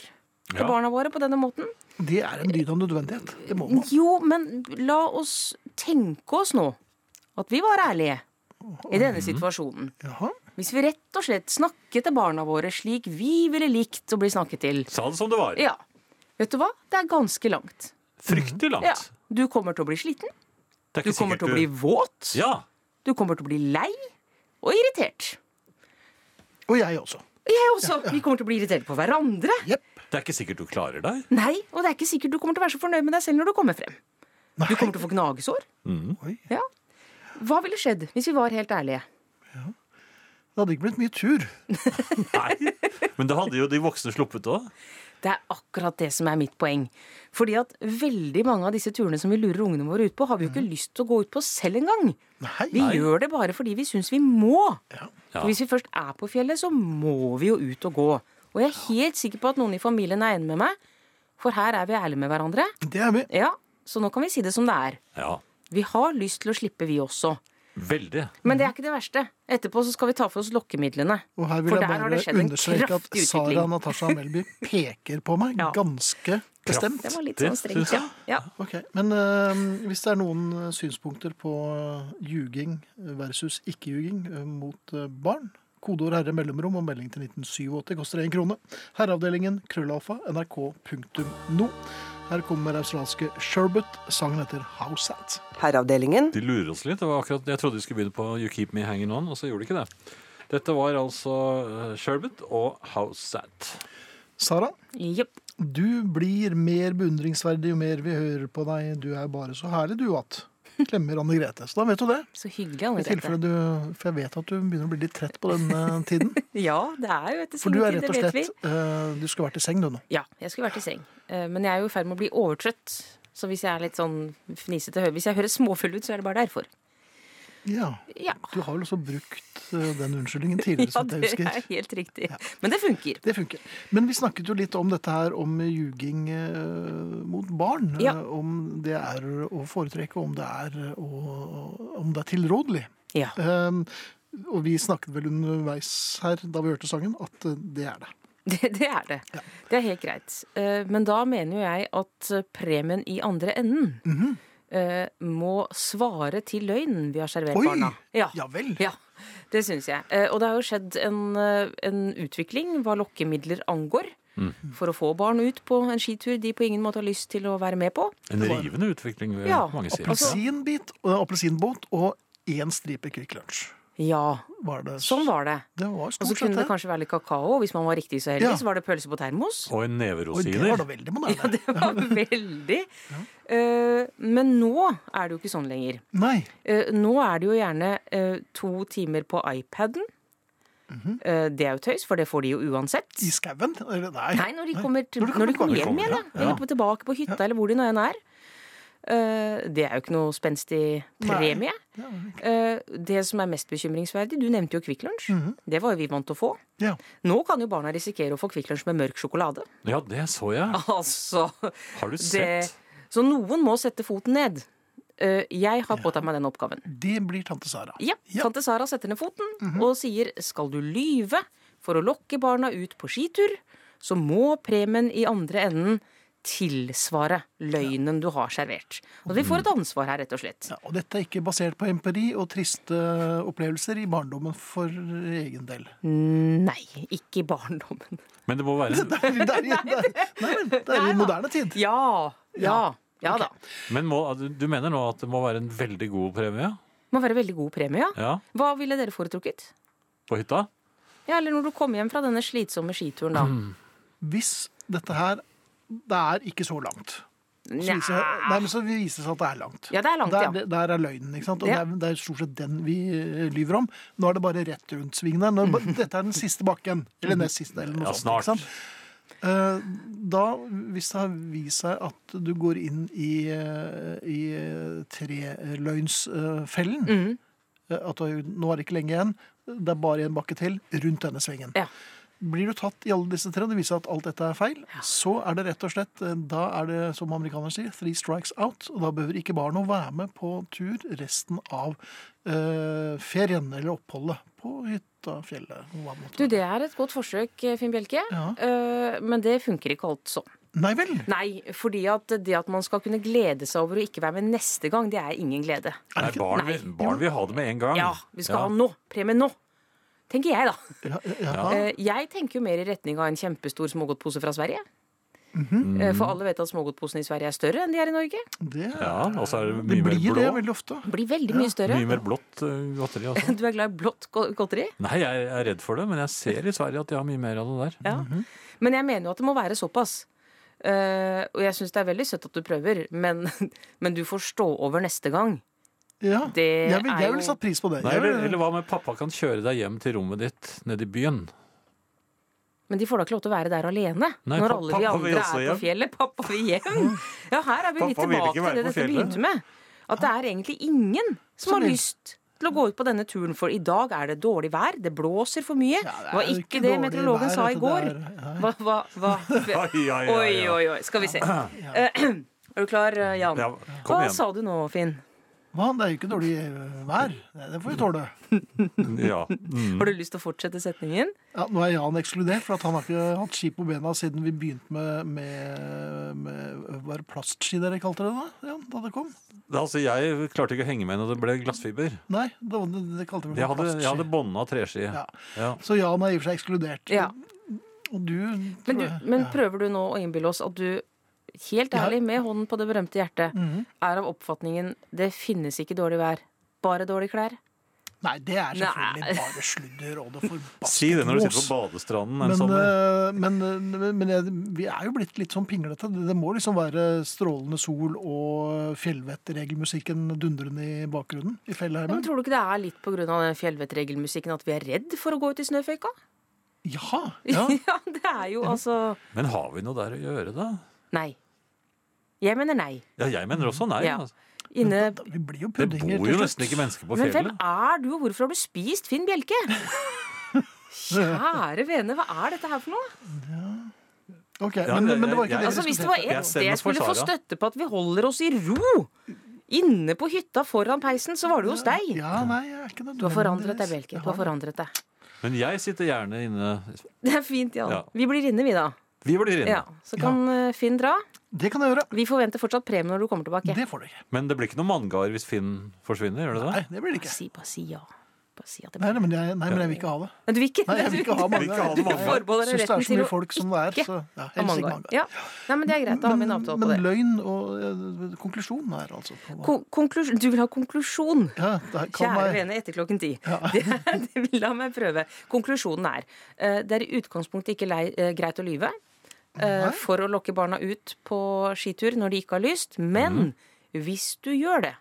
[SPEAKER 6] til
[SPEAKER 2] Ja.
[SPEAKER 6] barna våre på denne måten.
[SPEAKER 1] Det er en dyd av nødvendighet. Det må man.
[SPEAKER 6] Jo, men la oss tenke oss nå at vi var ærlige i denne
[SPEAKER 2] Mhm.
[SPEAKER 6] situasjonen.
[SPEAKER 1] Jaha.
[SPEAKER 6] Hvis vi rett og slett snakket til barna våre slik vi ville likt å bli snakket til.
[SPEAKER 2] Sa det som det var.
[SPEAKER 6] Ja, vet du hva? Det er ganske langt.
[SPEAKER 2] Fryktelig langt.
[SPEAKER 6] Ja, du kommer til å bli sliten.
[SPEAKER 2] Det er
[SPEAKER 6] Du
[SPEAKER 2] ikke
[SPEAKER 6] kommer
[SPEAKER 2] sikkert
[SPEAKER 6] til å bli våt.
[SPEAKER 2] Ja.
[SPEAKER 6] Du kommer til å bli lei og irritert.
[SPEAKER 1] Og jeg også.
[SPEAKER 6] Jeg også. Vi kommer til å bli irritert på hverandre.
[SPEAKER 1] Jepp.
[SPEAKER 2] Det er ikke sikkert du klarer
[SPEAKER 6] [laughs]
[SPEAKER 2] deg.
[SPEAKER 6] Nei, og det er ikke sikkert du kommer til å være så fornøyd med deg selv når du kommer frem. Du kommer til å få gnagesår.
[SPEAKER 1] Oi.
[SPEAKER 6] Ja. Hva ville skjedd hvis vi var helt ærlige?
[SPEAKER 1] Det hadde ikke blitt mye tur.
[SPEAKER 2] Nei. Men det hadde jo de voksne sluppet òg.
[SPEAKER 6] Det er akkurat det som er mitt poeng. Fordi at veldig mange av disse turene som vi lurer ungene våre ut på, har vi jo ikke lyst til å gå ut på selv engang.
[SPEAKER 1] Mm. Nei.
[SPEAKER 6] Vi gjør det bare fordi vi syns vi må.
[SPEAKER 2] Ja.
[SPEAKER 6] For hvis vi først er på fjellet, så må vi jo ut og gå. Og jeg er helt sikker på at noen i familien er enig med meg, for her er vi ærlige med hverandre.
[SPEAKER 1] Det er vi.
[SPEAKER 6] Ja, så nå kan vi si det som det er.
[SPEAKER 2] Ja.
[SPEAKER 6] Vi har lyst til å slippe, vi også.
[SPEAKER 2] Veldig.
[SPEAKER 6] Men det er ikke det verste. Etterpå så skal vi ta for oss lokkemidlene.
[SPEAKER 1] Og her vil
[SPEAKER 6] For
[SPEAKER 1] jeg
[SPEAKER 6] der har det
[SPEAKER 1] bare
[SPEAKER 6] skjedd en
[SPEAKER 1] understreke at
[SPEAKER 6] kraftig
[SPEAKER 1] Sara
[SPEAKER 6] utvikling.
[SPEAKER 1] Natasha Melby peker på meg
[SPEAKER 6] Ja.
[SPEAKER 1] ganske bestemt.
[SPEAKER 6] Det var litt
[SPEAKER 2] Det
[SPEAKER 6] sånn
[SPEAKER 2] synes
[SPEAKER 6] strengt,
[SPEAKER 2] jeg.
[SPEAKER 6] ja. ja.
[SPEAKER 1] Ok, Men eh, hvis det er noen synspunkter på eh, ljuging versus ikke-ljuging eh, mot eh, barn, Kodeord herre mellomrom og melding til 1987 koster én krone. Herreavdelingen krøllalfa nrk.no. Her kommer australske Sherbet. Sangen heter House Hat.
[SPEAKER 3] Herreavdelingen.
[SPEAKER 2] De lurer oss litt. Det var akkurat, jeg trodde de skulle begynne på You Keep Me Hanging On, og så gjorde de ikke det. Dette var altså eh, Sherbet og House Sat.
[SPEAKER 1] Sara,
[SPEAKER 6] Jepp.
[SPEAKER 1] du blir mer beundringsverdig jo mer vi hører på deg. Du er bare så herlig, du, at Klemmer Anne Grete. Så da vet du det.
[SPEAKER 6] Så hyggelig, Anne
[SPEAKER 1] I tilfelle
[SPEAKER 6] Grete.
[SPEAKER 1] du, For jeg vet at du begynner å bli litt trett på den eh, tiden.
[SPEAKER 6] Ja, det er jo etter
[SPEAKER 1] For du
[SPEAKER 6] sin
[SPEAKER 1] er
[SPEAKER 6] tid,
[SPEAKER 1] rett og
[SPEAKER 6] det vet vi.
[SPEAKER 1] slett eh, Du skulle vært i seng, du nå.
[SPEAKER 6] Ja, jeg skulle vært i seng. Eh, Men jeg er jo i ferd med å bli overtrøtt. Så hvis jeg er litt sånn fnisete høy, hvis jeg høres småfull ut, så er det bare derfor.
[SPEAKER 1] Ja.
[SPEAKER 6] Ja,
[SPEAKER 1] Du har vel også brukt eh, den unnskyldningen tidligere,
[SPEAKER 6] [laughs] ja
[SPEAKER 1] som jeg
[SPEAKER 6] det
[SPEAKER 1] husker.
[SPEAKER 6] er helt riktig. Men det funker.
[SPEAKER 1] Det funker. Men vi snakket jo litt om dette her om ljuging eh, mot barn.
[SPEAKER 6] Ja.
[SPEAKER 1] eh, om det er å foretrekke, om det er, eh, å, om det er tilrådelig.
[SPEAKER 6] Ja.
[SPEAKER 1] Eh, og vi snakket vel underveis her da vi hørte sangen, at eh, det er det.
[SPEAKER 6] [laughs] Det, det er det. Det er helt greit. Eh, Men da mener jo jeg at eh, premien i andre enden
[SPEAKER 1] Mhm.
[SPEAKER 6] eh, må svare til løgnen vi har servert
[SPEAKER 1] Oi!
[SPEAKER 6] barna. Ja.
[SPEAKER 1] Ja vel.
[SPEAKER 6] Ja, det syns jeg. Eh, Og det har jo skjedd en, eh, en utvikling hva lokkemidler angår. For å få barn ut på en skitur de på ingen måte har lyst til å være med på.
[SPEAKER 2] En rivende utvikling, vil
[SPEAKER 6] Ja,
[SPEAKER 2] mange si.
[SPEAKER 6] altså-
[SPEAKER 1] Appelsinbit og eh, appelsinbåt og én stripe Kvikk Lunsj.
[SPEAKER 6] Ja,
[SPEAKER 1] Var det
[SPEAKER 6] sånn var det.
[SPEAKER 1] Det var
[SPEAKER 6] Og så
[SPEAKER 1] stort sett
[SPEAKER 6] kunne det
[SPEAKER 1] det.
[SPEAKER 6] kanskje være litt kakao, og hvis man var riktig så heldig,
[SPEAKER 1] Ja.
[SPEAKER 6] så var det pølse
[SPEAKER 1] [laughs]
[SPEAKER 6] på termos.
[SPEAKER 2] Og en neve
[SPEAKER 1] Oi, det var
[SPEAKER 2] rosiner.
[SPEAKER 1] da veldig moderne.
[SPEAKER 6] Ja, det var veldig. Eh, Men nå er det jo ikke sånn lenger.
[SPEAKER 1] Nei.
[SPEAKER 6] Eh, nå er det jo gjerne eh, to timer på iPaden. Eh, det er jo tøys, for det får de jo uansett.
[SPEAKER 1] I skauen? Eller nei.
[SPEAKER 6] Nei, når de kommer, til,
[SPEAKER 1] Når de
[SPEAKER 6] når de
[SPEAKER 1] kommer.
[SPEAKER 6] kommer hjem igjen, da.
[SPEAKER 2] ja.
[SPEAKER 6] Eller på, tilbake på hytta, eller hvor de nå enn er. Eh, det er jo ikke noe spenstig premie. Eh, det som er mest bekymringsverdig, du nevnte jo Kvikk Lunsj. Det var jo vi vant til å få.
[SPEAKER 1] Ja.
[SPEAKER 6] Nå kan jo barna risikere å få Kvikk Lunsj med mørk sjokolade. [laughs]
[SPEAKER 2] Ja, det så jeg.
[SPEAKER 6] Altså
[SPEAKER 2] Har du
[SPEAKER 6] det,
[SPEAKER 2] sett?
[SPEAKER 6] Så noen må sette foten ned. Eh, jeg har påtatt meg den oppgaven.
[SPEAKER 1] Det blir tante Sara.
[SPEAKER 6] Ja, Mhm. Tante Sara setter ned foten og sier skal du lyve for å lokke barna ut på skitur, så må premien i andre enden tilsvare løgnen du har servert. Og vi får et ansvar her, rett og slett.
[SPEAKER 1] Ja, og dette er ikke basert på empiri og triste opplevelser i barndommen for egen del.
[SPEAKER 6] [laughs] Nei, ikke i barndommen.
[SPEAKER 2] Men det må være en
[SPEAKER 1] Det er, det er, det er, nei, men det er i moderne tid.
[SPEAKER 6] [laughs] Ja, ja, ja da.
[SPEAKER 2] Men må, du- du mener nå at det må være en veldig god premie?
[SPEAKER 6] Må være veldig god premie, ja.
[SPEAKER 2] Ja,
[SPEAKER 6] Hva ville dere foretrukket?
[SPEAKER 2] på hytta?
[SPEAKER 6] Ja, Eller når du kom hjem fra denne slitsomme skituren, da.
[SPEAKER 1] Hvis dette her Det er ikke så langt. Så viser,
[SPEAKER 6] Nja.
[SPEAKER 1] nei, men så viser det seg at det er langt.
[SPEAKER 6] Ja, det er langt,
[SPEAKER 1] der,
[SPEAKER 6] ja.
[SPEAKER 1] det- Der er løgnen, ikke sant? Og
[SPEAKER 6] Ja.
[SPEAKER 1] det, er, det er stort sett den vi eh, lyver om. Nå er det bare rett rundt svingen der. Nå er det bare- dette er den siste bakken. Eller
[SPEAKER 6] Mhm.
[SPEAKER 1] nest siste, eller noe
[SPEAKER 2] Ja,
[SPEAKER 1] sånt.
[SPEAKER 2] snart.
[SPEAKER 1] Ikke sant? Eh, Da, hvis det har vist seg at du går inn i, eh, i eh, treløgnsfellen
[SPEAKER 6] Mhm.
[SPEAKER 1] eh, At du, nå er det ikke lenge igjen, det er bare en bakke til rundt denne svingen.
[SPEAKER 6] Ja.
[SPEAKER 1] Blir du tatt i alle disse tre, og det viser seg at alt dette er feil, så er det rett og slett eh, Da er det, som amerikanerne sier, three strikes out. Og da behøver ikke barn å være med på tur resten av eh, ferien eller oppholdet på hytta, fjellet hva det måtte
[SPEAKER 6] Du,
[SPEAKER 1] være.
[SPEAKER 6] det er et godt forsøk, Finn Bjelke.
[SPEAKER 1] Ja.
[SPEAKER 6] Eh, Men det funker ikke alt sånn.
[SPEAKER 1] Nei vel?
[SPEAKER 6] Nei, fordi at det at man skal kunne glede seg over å ikke være med neste gang, det er ingen glede.
[SPEAKER 2] Nei, barn, vil- barn vil ha det med en gang.
[SPEAKER 6] Ja, vi skal
[SPEAKER 2] Ja.
[SPEAKER 6] ha nå. Premie nå. Tenker jeg, da.
[SPEAKER 1] Ja, ja,
[SPEAKER 6] Eh, Jeg tenker jo mer i retning av en kjempestor smågodtpose fra Sverige. Eh, For alle vet at smågodtposene i Sverige er større enn de er i Norge.
[SPEAKER 1] Det,
[SPEAKER 2] Ja, og så er det
[SPEAKER 1] det
[SPEAKER 2] mye mer
[SPEAKER 1] blir
[SPEAKER 2] blå.
[SPEAKER 1] det veldig ofte.
[SPEAKER 6] Blir veldig mye større.
[SPEAKER 2] Mye mer blått eh, godteri. Altså.
[SPEAKER 6] [laughs] Du er glad i blått go- godteri?
[SPEAKER 2] Nei, jeg er redd for det, men jeg ser i Sverige at de har mye mer av det der.
[SPEAKER 6] Ja. Men jeg mener jo at det må være såpass. Eh, og jeg syns det er veldig søtt at du prøver, men, [laughs] men du får stå over neste gang.
[SPEAKER 1] Ja,
[SPEAKER 6] Det
[SPEAKER 1] jeg vil-
[SPEAKER 6] er
[SPEAKER 1] jeg
[SPEAKER 6] jo-
[SPEAKER 1] ville satt pris på det.
[SPEAKER 2] Nei,
[SPEAKER 1] Jeg
[SPEAKER 2] eller,
[SPEAKER 1] vil-
[SPEAKER 2] eller hva med pappa kan kjøre deg hjem til rommet ditt nede i byen?
[SPEAKER 6] Men de får da ikke lov til å være der alene
[SPEAKER 2] Nei,
[SPEAKER 6] når
[SPEAKER 2] pa-
[SPEAKER 6] alle vi
[SPEAKER 2] pappa vil
[SPEAKER 6] andre
[SPEAKER 2] også
[SPEAKER 6] er på
[SPEAKER 2] hjem.
[SPEAKER 6] fjellet. Pappa vil
[SPEAKER 2] [laughs]
[SPEAKER 6] hjem! Ja, her er vi litt
[SPEAKER 2] Pappa vil
[SPEAKER 6] tilbake
[SPEAKER 2] ikke
[SPEAKER 6] til
[SPEAKER 2] være
[SPEAKER 6] det
[SPEAKER 2] på
[SPEAKER 6] dette
[SPEAKER 2] fjellet.
[SPEAKER 6] begynte med. At det er egentlig ingen som har
[SPEAKER 1] vil.
[SPEAKER 6] lyst til å gå ut på denne turen, for i dag er det dårlig vær, det blåser for mye.
[SPEAKER 1] Ja, det
[SPEAKER 6] Det
[SPEAKER 1] er
[SPEAKER 6] var
[SPEAKER 1] jo
[SPEAKER 6] ikke
[SPEAKER 1] ikke
[SPEAKER 6] det
[SPEAKER 1] dårlig
[SPEAKER 6] meteorologen
[SPEAKER 1] vær,
[SPEAKER 6] sa i
[SPEAKER 1] dette
[SPEAKER 6] går.
[SPEAKER 1] der.
[SPEAKER 6] Hva, hva, hva
[SPEAKER 2] [laughs] Ai, ai, ai,
[SPEAKER 6] Oi,
[SPEAKER 2] ai.
[SPEAKER 6] oi, oi. Skal vi
[SPEAKER 2] [clears throat]
[SPEAKER 6] se. [clears throat] Er du klar, eh, Jan?
[SPEAKER 2] Ja, kom
[SPEAKER 6] Hva
[SPEAKER 2] igjen.
[SPEAKER 6] sa du nå, Finn?
[SPEAKER 1] Hva? Det er jo ikke dårlig eh, vær. Det det får vi tåle.
[SPEAKER 2] Ja. Mm.
[SPEAKER 6] Har du lyst til å fortsette setningen?
[SPEAKER 1] Ja, nå er Jan ekskludert, for at han har ikke hatt ski på bena siden vi begynte med, med, med Var det plastski dere kalte det da, Jan, da det kom?
[SPEAKER 2] Altså, jeg klarte ikke å henge med når det ble glassfiber.
[SPEAKER 1] Nei, det, var- det, det kalte vi
[SPEAKER 2] Jeg hadde, jeg hadde
[SPEAKER 1] plastski.
[SPEAKER 2] bånda treski.
[SPEAKER 1] Ja.
[SPEAKER 2] Ja.
[SPEAKER 1] Så Jan er i og for seg ekskludert.
[SPEAKER 6] Ja.
[SPEAKER 1] Og du,
[SPEAKER 6] Men,
[SPEAKER 1] tror
[SPEAKER 6] du,
[SPEAKER 1] jeg-
[SPEAKER 6] men
[SPEAKER 1] ja.
[SPEAKER 6] prøver du nå å innbille oss at du, helt
[SPEAKER 1] Ja.
[SPEAKER 6] ærlig, med hånden på det berømte hjertet,
[SPEAKER 1] Mhm.
[SPEAKER 6] er av oppfatningen 'det finnes ikke dårlig vær, bare dårlige klær'?
[SPEAKER 1] Nei, det er selvfølgelig
[SPEAKER 6] Nei.
[SPEAKER 1] bare sludder og det forbasket
[SPEAKER 2] Si det når du sitter
[SPEAKER 1] vås.
[SPEAKER 2] på badestranden en
[SPEAKER 1] Men,
[SPEAKER 2] sommer.
[SPEAKER 1] eh, men, eh, men jeg, vi er jo blitt litt sånn pinglete. Det, det må liksom være strålende sol og fjellvettregelmusikken dundrende i bakgrunnen i
[SPEAKER 6] Ja, men
[SPEAKER 1] fjellheimen.
[SPEAKER 6] tror du ikke det er litt pga. den fjellvettregelmusikken at vi er redd for å gå ut i snøføyka? [laughs]
[SPEAKER 1] Ja, ja.
[SPEAKER 6] ja, det er jo altså
[SPEAKER 2] Men har vi noe der å gjøre, da?
[SPEAKER 6] Nei. Jeg mener nei.
[SPEAKER 2] Ja, jeg mener også nei.
[SPEAKER 6] Ja.
[SPEAKER 2] Altså.
[SPEAKER 6] Inne
[SPEAKER 1] Da- Vi blir jo
[SPEAKER 2] Det
[SPEAKER 1] puddinger
[SPEAKER 2] bor jo nesten ikke mennesker på
[SPEAKER 6] Men hvem
[SPEAKER 2] fjellet.
[SPEAKER 6] er du, og hvorfor har du spist
[SPEAKER 1] [laughs]
[SPEAKER 6] Finn Bjelke? Kjære vene, hva er dette her for noe?
[SPEAKER 1] Ok,
[SPEAKER 2] Ja,
[SPEAKER 1] men,
[SPEAKER 2] jeg-
[SPEAKER 1] men det var ikke
[SPEAKER 2] jeg-
[SPEAKER 1] det
[SPEAKER 6] Altså,
[SPEAKER 1] vi
[SPEAKER 6] Hvis det var
[SPEAKER 1] diskuterte.
[SPEAKER 6] ett
[SPEAKER 2] Jeg stemmer
[SPEAKER 6] sted jeg
[SPEAKER 2] for
[SPEAKER 6] skulle få
[SPEAKER 2] Sara.
[SPEAKER 6] støtte på at vi holder oss i ro inne på hytta foran peisen, så var det jo hos deg.
[SPEAKER 1] Ja, nei, jeg er ikke det.
[SPEAKER 6] Du har forandret deg, Bjelke. Du har forandret deg.
[SPEAKER 2] Men jeg sitter gjerne inne.
[SPEAKER 6] Det er fint, Jan.
[SPEAKER 2] Ja.
[SPEAKER 6] Vi blir inne, vi, da.
[SPEAKER 2] Vi blir inne.
[SPEAKER 6] Ja, så kan eh, Finn dra.
[SPEAKER 1] Det kan jeg gjøre.
[SPEAKER 6] Vi forventer fortsatt premie når du kommer tilbake.
[SPEAKER 1] Det får du ikke.
[SPEAKER 2] Men det blir ikke noe manngard hvis Finn forsvinner? gjør det
[SPEAKER 1] Nei,
[SPEAKER 2] det?
[SPEAKER 1] det blir det ikke.
[SPEAKER 6] Bare si, bare si ja. Bare si at det
[SPEAKER 1] Nei,
[SPEAKER 6] blir
[SPEAKER 1] nei, men jeg, nei, men jeg vil ikke ha det.
[SPEAKER 6] Nei, Du vil ikke?
[SPEAKER 1] Nei, jeg vil ikke ha mange.
[SPEAKER 2] vil ikke ha
[SPEAKER 1] Jeg
[SPEAKER 2] mange.
[SPEAKER 1] synes
[SPEAKER 6] Forbeholder
[SPEAKER 1] det er
[SPEAKER 6] retten
[SPEAKER 1] så
[SPEAKER 6] til å
[SPEAKER 1] mye folk som det er,
[SPEAKER 6] ikke
[SPEAKER 1] så ja,
[SPEAKER 6] [laughs] ha
[SPEAKER 1] helst ikke
[SPEAKER 6] mangar.
[SPEAKER 1] mange.
[SPEAKER 6] Ja. Nei, men det er greit. Da har vi en avtale på
[SPEAKER 1] men
[SPEAKER 6] det.
[SPEAKER 1] løgn og eh, konklusjon er altså på hva-
[SPEAKER 6] Ko- konklusjon- Du vil ha konklusjon?
[SPEAKER 1] ja, det her kan
[SPEAKER 6] Kjære
[SPEAKER 1] være-
[SPEAKER 6] vene, etter klokken ti. [laughs] Det, er- det vil la meg prøve. Konklusjonen er eh, det er i utgangspunktet ikke lei, eh, greit å lyve eh,
[SPEAKER 1] Nei.
[SPEAKER 6] for å lokke barna ut på skitur når de ikke har lyst,
[SPEAKER 1] Mhm.
[SPEAKER 6] men hvis du gjør det,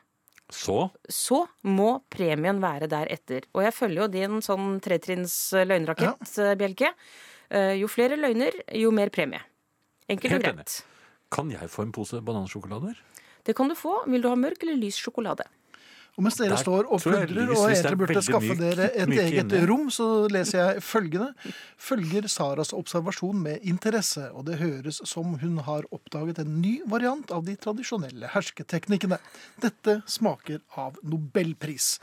[SPEAKER 2] Så
[SPEAKER 6] så må premien være deretter. Og jeg følger jo din sånn tretrinns eh, løgnrakett, eh, Bjelke. Eh, Jo flere løgner, jo mer premie. Enkelt og
[SPEAKER 2] Helt enig.
[SPEAKER 6] greit.
[SPEAKER 2] kan jeg få en pose banansjokolader?
[SPEAKER 6] Det kan du få. Vil du ha mørk eller lys sjokolade?
[SPEAKER 1] Og mens dere
[SPEAKER 2] Der
[SPEAKER 1] står og
[SPEAKER 2] tror jeg
[SPEAKER 1] pludrer
[SPEAKER 2] lys,
[SPEAKER 1] og
[SPEAKER 2] hvis det er
[SPEAKER 1] egentlig burde
[SPEAKER 2] veldig
[SPEAKER 1] skaffe
[SPEAKER 2] mykt-
[SPEAKER 1] dere et
[SPEAKER 2] mykt
[SPEAKER 1] eget
[SPEAKER 2] inne.
[SPEAKER 1] rom, så leser jeg følgende. Følger Saras observasjon med interesse, og det høres som hun har oppdaget en ny variant av de tradisjonelle hersketeknikkene. Dette smaker av nobelpris.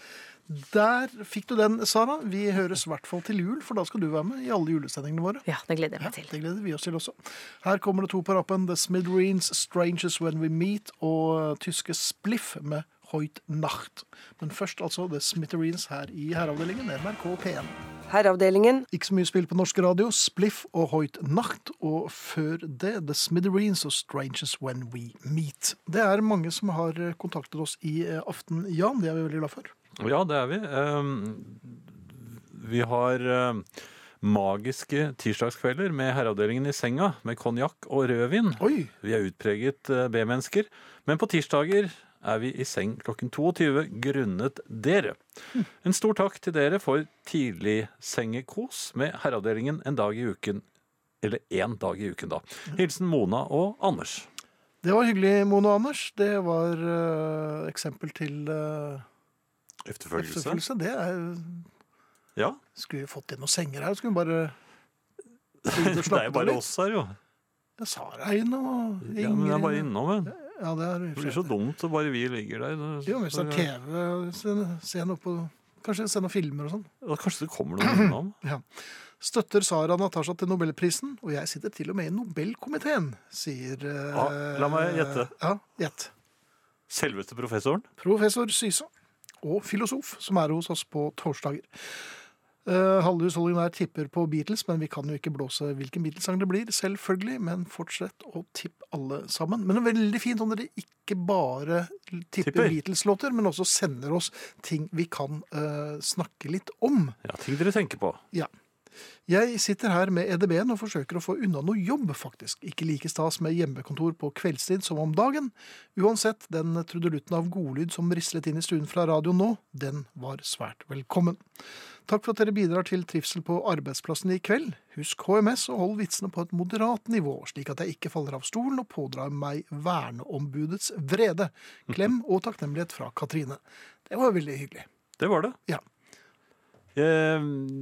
[SPEAKER 1] Der fikk du den, Sara. Vi høres i hvert fall til jul, for da skal du være med i alle julesendingene våre.
[SPEAKER 6] Ja, det gleder jeg
[SPEAKER 1] Ja,
[SPEAKER 6] meg
[SPEAKER 1] det
[SPEAKER 6] til.
[SPEAKER 1] gleder vi oss til også. Her kommer det to på rappen. The Smithereens, Strangers When We Meet og eh, tyske Spliff med Hoit Nacht. Men først altså The Smithereens her i herreavdelingen, NRK P1.
[SPEAKER 3] Herreavdelingen.
[SPEAKER 1] Ikke så mye spill på norsk radio, Spliff og Hoit Nacht, og før det The Smithereens og Strangers When We Meet. Det er mange som har kontaktet oss i eh, aften, Jan. Det er vi veldig glad for.
[SPEAKER 2] Ja, det er vi. Ehm, Vi har ehm, magiske tirsdagskvelder med herreavdelingen i senga med konjakk og rødvin.
[SPEAKER 1] Oi!
[SPEAKER 2] Vi er utpreget eh, B-mennesker, men på tirsdager er vi i seng klokken 22 grunnet dere. En stor takk til dere for tidlig sengekos med herreavdelingen en dag i uken. Eller én dag i uken, da. Hilsen Mona og Anders.
[SPEAKER 1] Det var hyggelig, Mone og Anders. Det var eh, eksempel til uh, efterfølgelse. Det er
[SPEAKER 2] Ja.
[SPEAKER 1] Skulle vi fått inn noen senger her? Skulle vi bare
[SPEAKER 2] [laughs] [laughs] Det er jo bare oss her, jo.
[SPEAKER 1] Jeg sa deg noe.
[SPEAKER 2] Ja, men det er bare innom, men.
[SPEAKER 1] Ja, det er
[SPEAKER 2] Det blir så dumt at bare vi ligger der.
[SPEAKER 1] Jo, men hvis det er TV, se, se noe på Kanskje se noen filmer og sånn.
[SPEAKER 2] Ja, Kanskje det kommer noen innom?
[SPEAKER 1] Støtter Sara Natasha til nobelprisen, og jeg sitter til og med i Nobelkomiteen, sier eh,
[SPEAKER 2] Ah, la meg gjette.
[SPEAKER 1] Ja, gjett.
[SPEAKER 2] Selveste professoren?
[SPEAKER 1] Professor Syse og filosof, som er hos oss på torsdager. Eh, Halve husholdningen her tipper på Beatles, men vi kan jo ikke blåse hvilken Beatles-sang det blir, selvfølgelig. Men fortsett å tippe alle sammen. Men det er veldig fint om dere ikke bare tipper,
[SPEAKER 2] Tipper.
[SPEAKER 1] Beatles-låter, men også sender oss ting vi kan eh, snakke litt om.
[SPEAKER 2] Ja, ting dere tenker på.
[SPEAKER 1] Ja. Jeg sitter her med EDB-en og forsøker å få unna noe jobb, faktisk. Ikke like stas med hjemmekontor på kveldstid som om dagen. Uansett, den trudelutten av godlyd som rislet inn i stuen fra radio nå, den var svært velkommen. Takk for at dere bidrar til trivsel på arbeidsplassen i kveld. Husk HMS og hold vitsene på et moderat nivå, slik at jeg ikke faller av stolen og pådrar meg verneombudets vrede. Klem og takknemlighet fra Katrine. Det var veldig hyggelig.
[SPEAKER 2] Det var det.
[SPEAKER 1] Ja.
[SPEAKER 2] Eh,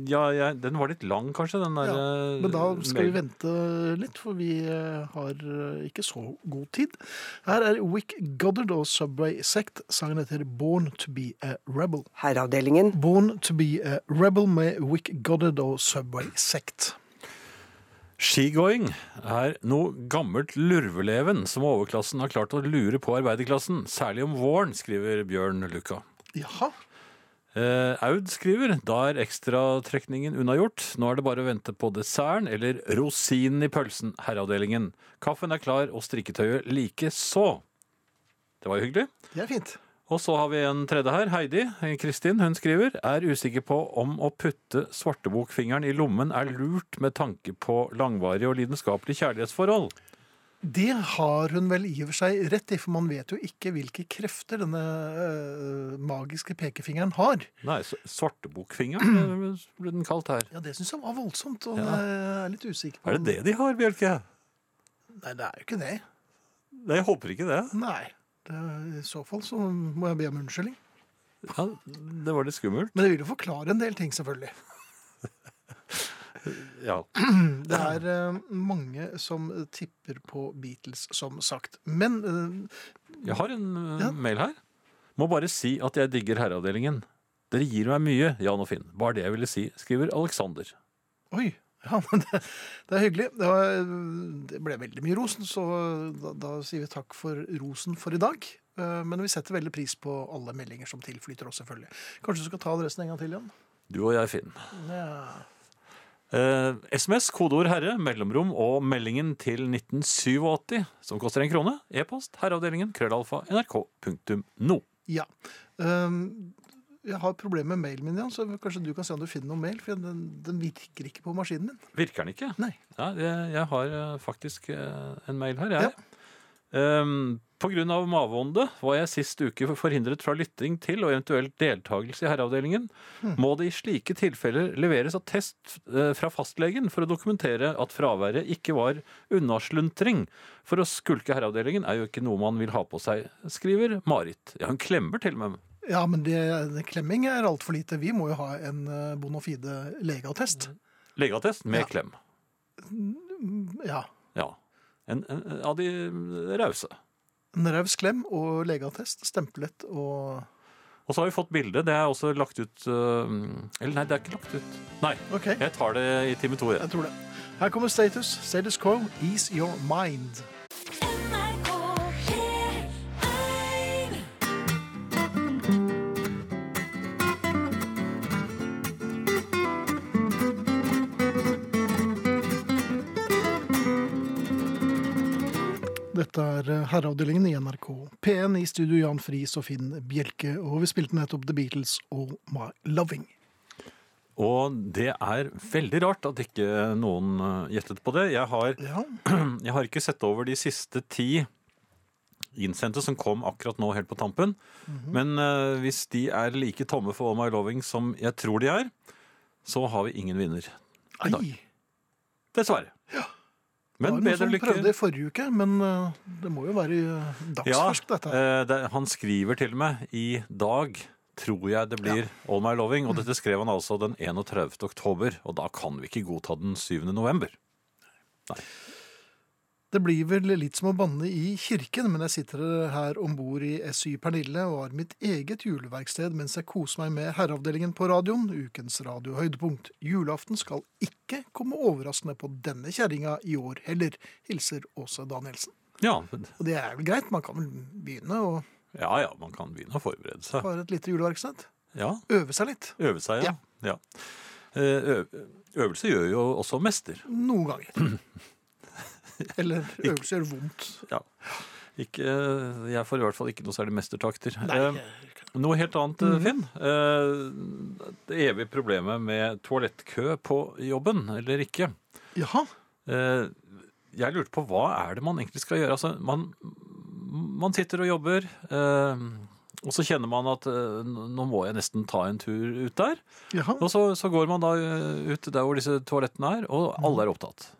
[SPEAKER 2] ja, jeg- den var litt lang, kanskje, den der eh,
[SPEAKER 1] Men da skal vi
[SPEAKER 2] mailen.
[SPEAKER 1] vente litt, for vi eh, har eh, ikke så god tid. Her er Wick Goddard og Subway Sect. Sangen heter Born to be a Rebel.
[SPEAKER 3] Herreavdelingen.
[SPEAKER 1] Born to be a Rebel med Wick Goddard og Subway Sect.
[SPEAKER 2] Skigåing er noe gammelt lurveleven som overklassen har klart å lure på arbeiderklassen, særlig om våren, skriver Bjørn Lukka.
[SPEAKER 1] Jaha.
[SPEAKER 2] Eh, Aud skriver da er ekstratrekningen unnagjort. Nå er det bare å vente på desserten eller rosinen i pølsen, herreavdelingen. Kaffen er klar og strikketøyet likeså. Det var jo hyggelig.
[SPEAKER 1] Det er fint.
[SPEAKER 2] Og så har vi en tredje her, Heidi eh, Kristin. Hun skriver er usikker på om å putte svartebokfingeren i lommen er lurt med tanke på langvarige og lidenskapelige kjærlighetsforhold.
[SPEAKER 1] Det har hun vel i og for seg rett i, for man vet jo ikke hvilke krefter denne øh, magiske pekefingeren har.
[SPEAKER 2] Nei, så- svartebokfingeren eh, ble den kalt her.
[SPEAKER 1] Ja, Det syns jeg var voldsomt, og
[SPEAKER 2] Ja.
[SPEAKER 1] jeg er litt usikker på
[SPEAKER 2] Er det det de har, Bjørke?
[SPEAKER 1] Nei, det er jo ikke det.
[SPEAKER 2] Nei, jeg håper ikke det.
[SPEAKER 1] Nei. Det, I så fall så må jeg be om unnskyldning.
[SPEAKER 2] Ja, det var litt skummelt.
[SPEAKER 1] Men det vil jo forklare en del ting, selvfølgelig.
[SPEAKER 2] Ja.
[SPEAKER 1] Det er eh, mange som tipper på Beatles, som sagt. Men eh,
[SPEAKER 2] Jeg har en eh,
[SPEAKER 1] Ja.
[SPEAKER 2] mail her. Må bare si at jeg digger herreavdelingen. Dere gir meg mye, Jan og Finn. Bare det jeg ville si, skriver Alexander.
[SPEAKER 1] Oi! Ja, [laughs] men det, det er hyggelig. Det, var, det ble veldig mye rosen, så da, da sier vi takk for rosen for i dag. Eh, Men vi setter veldig pris på alle meldinger som tilflyter oss, selvfølgelig. Kanskje du skal ta adressen en gang til, Jan?
[SPEAKER 2] Du og jeg, Finn.
[SPEAKER 1] Ja.
[SPEAKER 2] Eh, SMS, kodeord herre, mellomrom og meldingen til 1987, som koster en krone. E-post herreavdelingen krøllalfa nrk.no.
[SPEAKER 1] ja. Um, Jeg har problemer med mailen min, Jan, så kanskje du kan se om du finner noen mail? For den, den virker ikke på maskinen min.
[SPEAKER 2] Virker den ikke?
[SPEAKER 1] Nei.
[SPEAKER 2] Ja, jeg, jeg har eh, faktisk eh, en mail her, jeg. Ehm, på grunn av mavånde var jeg sist uke forhindret fra lytting til og eventuelt deltakelse i herreavdelingen.
[SPEAKER 1] Hm.
[SPEAKER 2] Må det i slike tilfeller leveres attest eh, fra fastlegen for å dokumentere at fraværet ikke var unnasluntring? For å skulke herreavdelingen er jo ikke noe man vil ha på seg, skriver Marit. Ja, hun klemmer til meg.
[SPEAKER 1] Ja, men det, det klemming er altfor lite. Vi må jo ha en eh, bonafide legeattest.
[SPEAKER 2] Mm. Legeattest med
[SPEAKER 1] Ja.
[SPEAKER 2] klem.
[SPEAKER 1] Ja.
[SPEAKER 2] Ja. En, en, en av de rause.
[SPEAKER 1] En raus klem og legeattest, stempelet og
[SPEAKER 2] Og så har vi fått bilde. Det er også lagt ut øh, Eller nei, det er ikke lagt ut. Nei.
[SPEAKER 1] OK, jeg
[SPEAKER 2] Jeg tar det i time to. jeg.
[SPEAKER 1] tror det. Her kommer status. Status quo, ease your mind. Dette er eh, Herreavdelingen i NRK P1 i studio Jan Friis og Finn Bjelke. Og vi spilte nettopp The Beatles og My Loving.
[SPEAKER 2] Og det er veldig rart at ikke noen øh, gjettet på det. Jeg har, [clears throat]
[SPEAKER 1] Ja,
[SPEAKER 2] jeg har ikke sett over de siste ti innsendte som kom akkurat nå helt på tampen.
[SPEAKER 1] Mhm.
[SPEAKER 2] Men øh, hvis de er like tomme for All My Loving som jeg tror de er, så har vi ingen vinner. I dag.
[SPEAKER 1] Ei.
[SPEAKER 2] Dessverre.
[SPEAKER 1] det
[SPEAKER 2] Men
[SPEAKER 1] var noen
[SPEAKER 2] bedre
[SPEAKER 1] som
[SPEAKER 2] lykke.
[SPEAKER 1] prøvde i forrige uke, men eh, det må jo være eh, dagsferskt, dette. her.
[SPEAKER 2] eh, det, han skriver til og med i dag tror jeg det blir All My Loving, og dette skrev han altså den 31. oktober, og da kan vi ikke godta den 7. november.
[SPEAKER 1] Det blir vel litt som å banne i kirken, men jeg sitter her om bord i SY Pernille og har mitt eget juleverksted mens jeg koser meg med Herreavdelingen på radioen, ukens radiohøydepunkt. Julaften skal ikke komme overraskende på denne kjerringa i år heller, hilser Åse Danielsen.
[SPEAKER 2] Ja,
[SPEAKER 1] Og det er vel greit, man kan vel begynne å
[SPEAKER 2] ja, ja man kan begynne å forberede seg.
[SPEAKER 1] ha et lite juleverksted.
[SPEAKER 2] Ja,
[SPEAKER 1] Øve seg litt.
[SPEAKER 2] Øve seg, ja. ja. Eh, øv- øvelse gjør jo også mester.
[SPEAKER 1] Noen
[SPEAKER 2] [laughs]
[SPEAKER 1] ganger. Eller øvelse gjør vondt.
[SPEAKER 2] Ja. Ikke, eh, jeg får i hvert fall ikke noe særlig mestertakter.
[SPEAKER 1] Nei,
[SPEAKER 2] Eh, Noe helt annet, Finn. Eh, Det evige problemet med toalettkø på jobben, eller ikke.
[SPEAKER 1] jaha.
[SPEAKER 2] Eh, Jeg lurte på hva er det man egentlig skal gjøre? Altså, man, man sitter og jobber, eh, og så kjenner man at eh, nå må jeg nesten ta en tur ut der.
[SPEAKER 1] jaha.
[SPEAKER 2] Og så, så går man da eh, ut der hvor disse toalettene er, og alle er opptatt.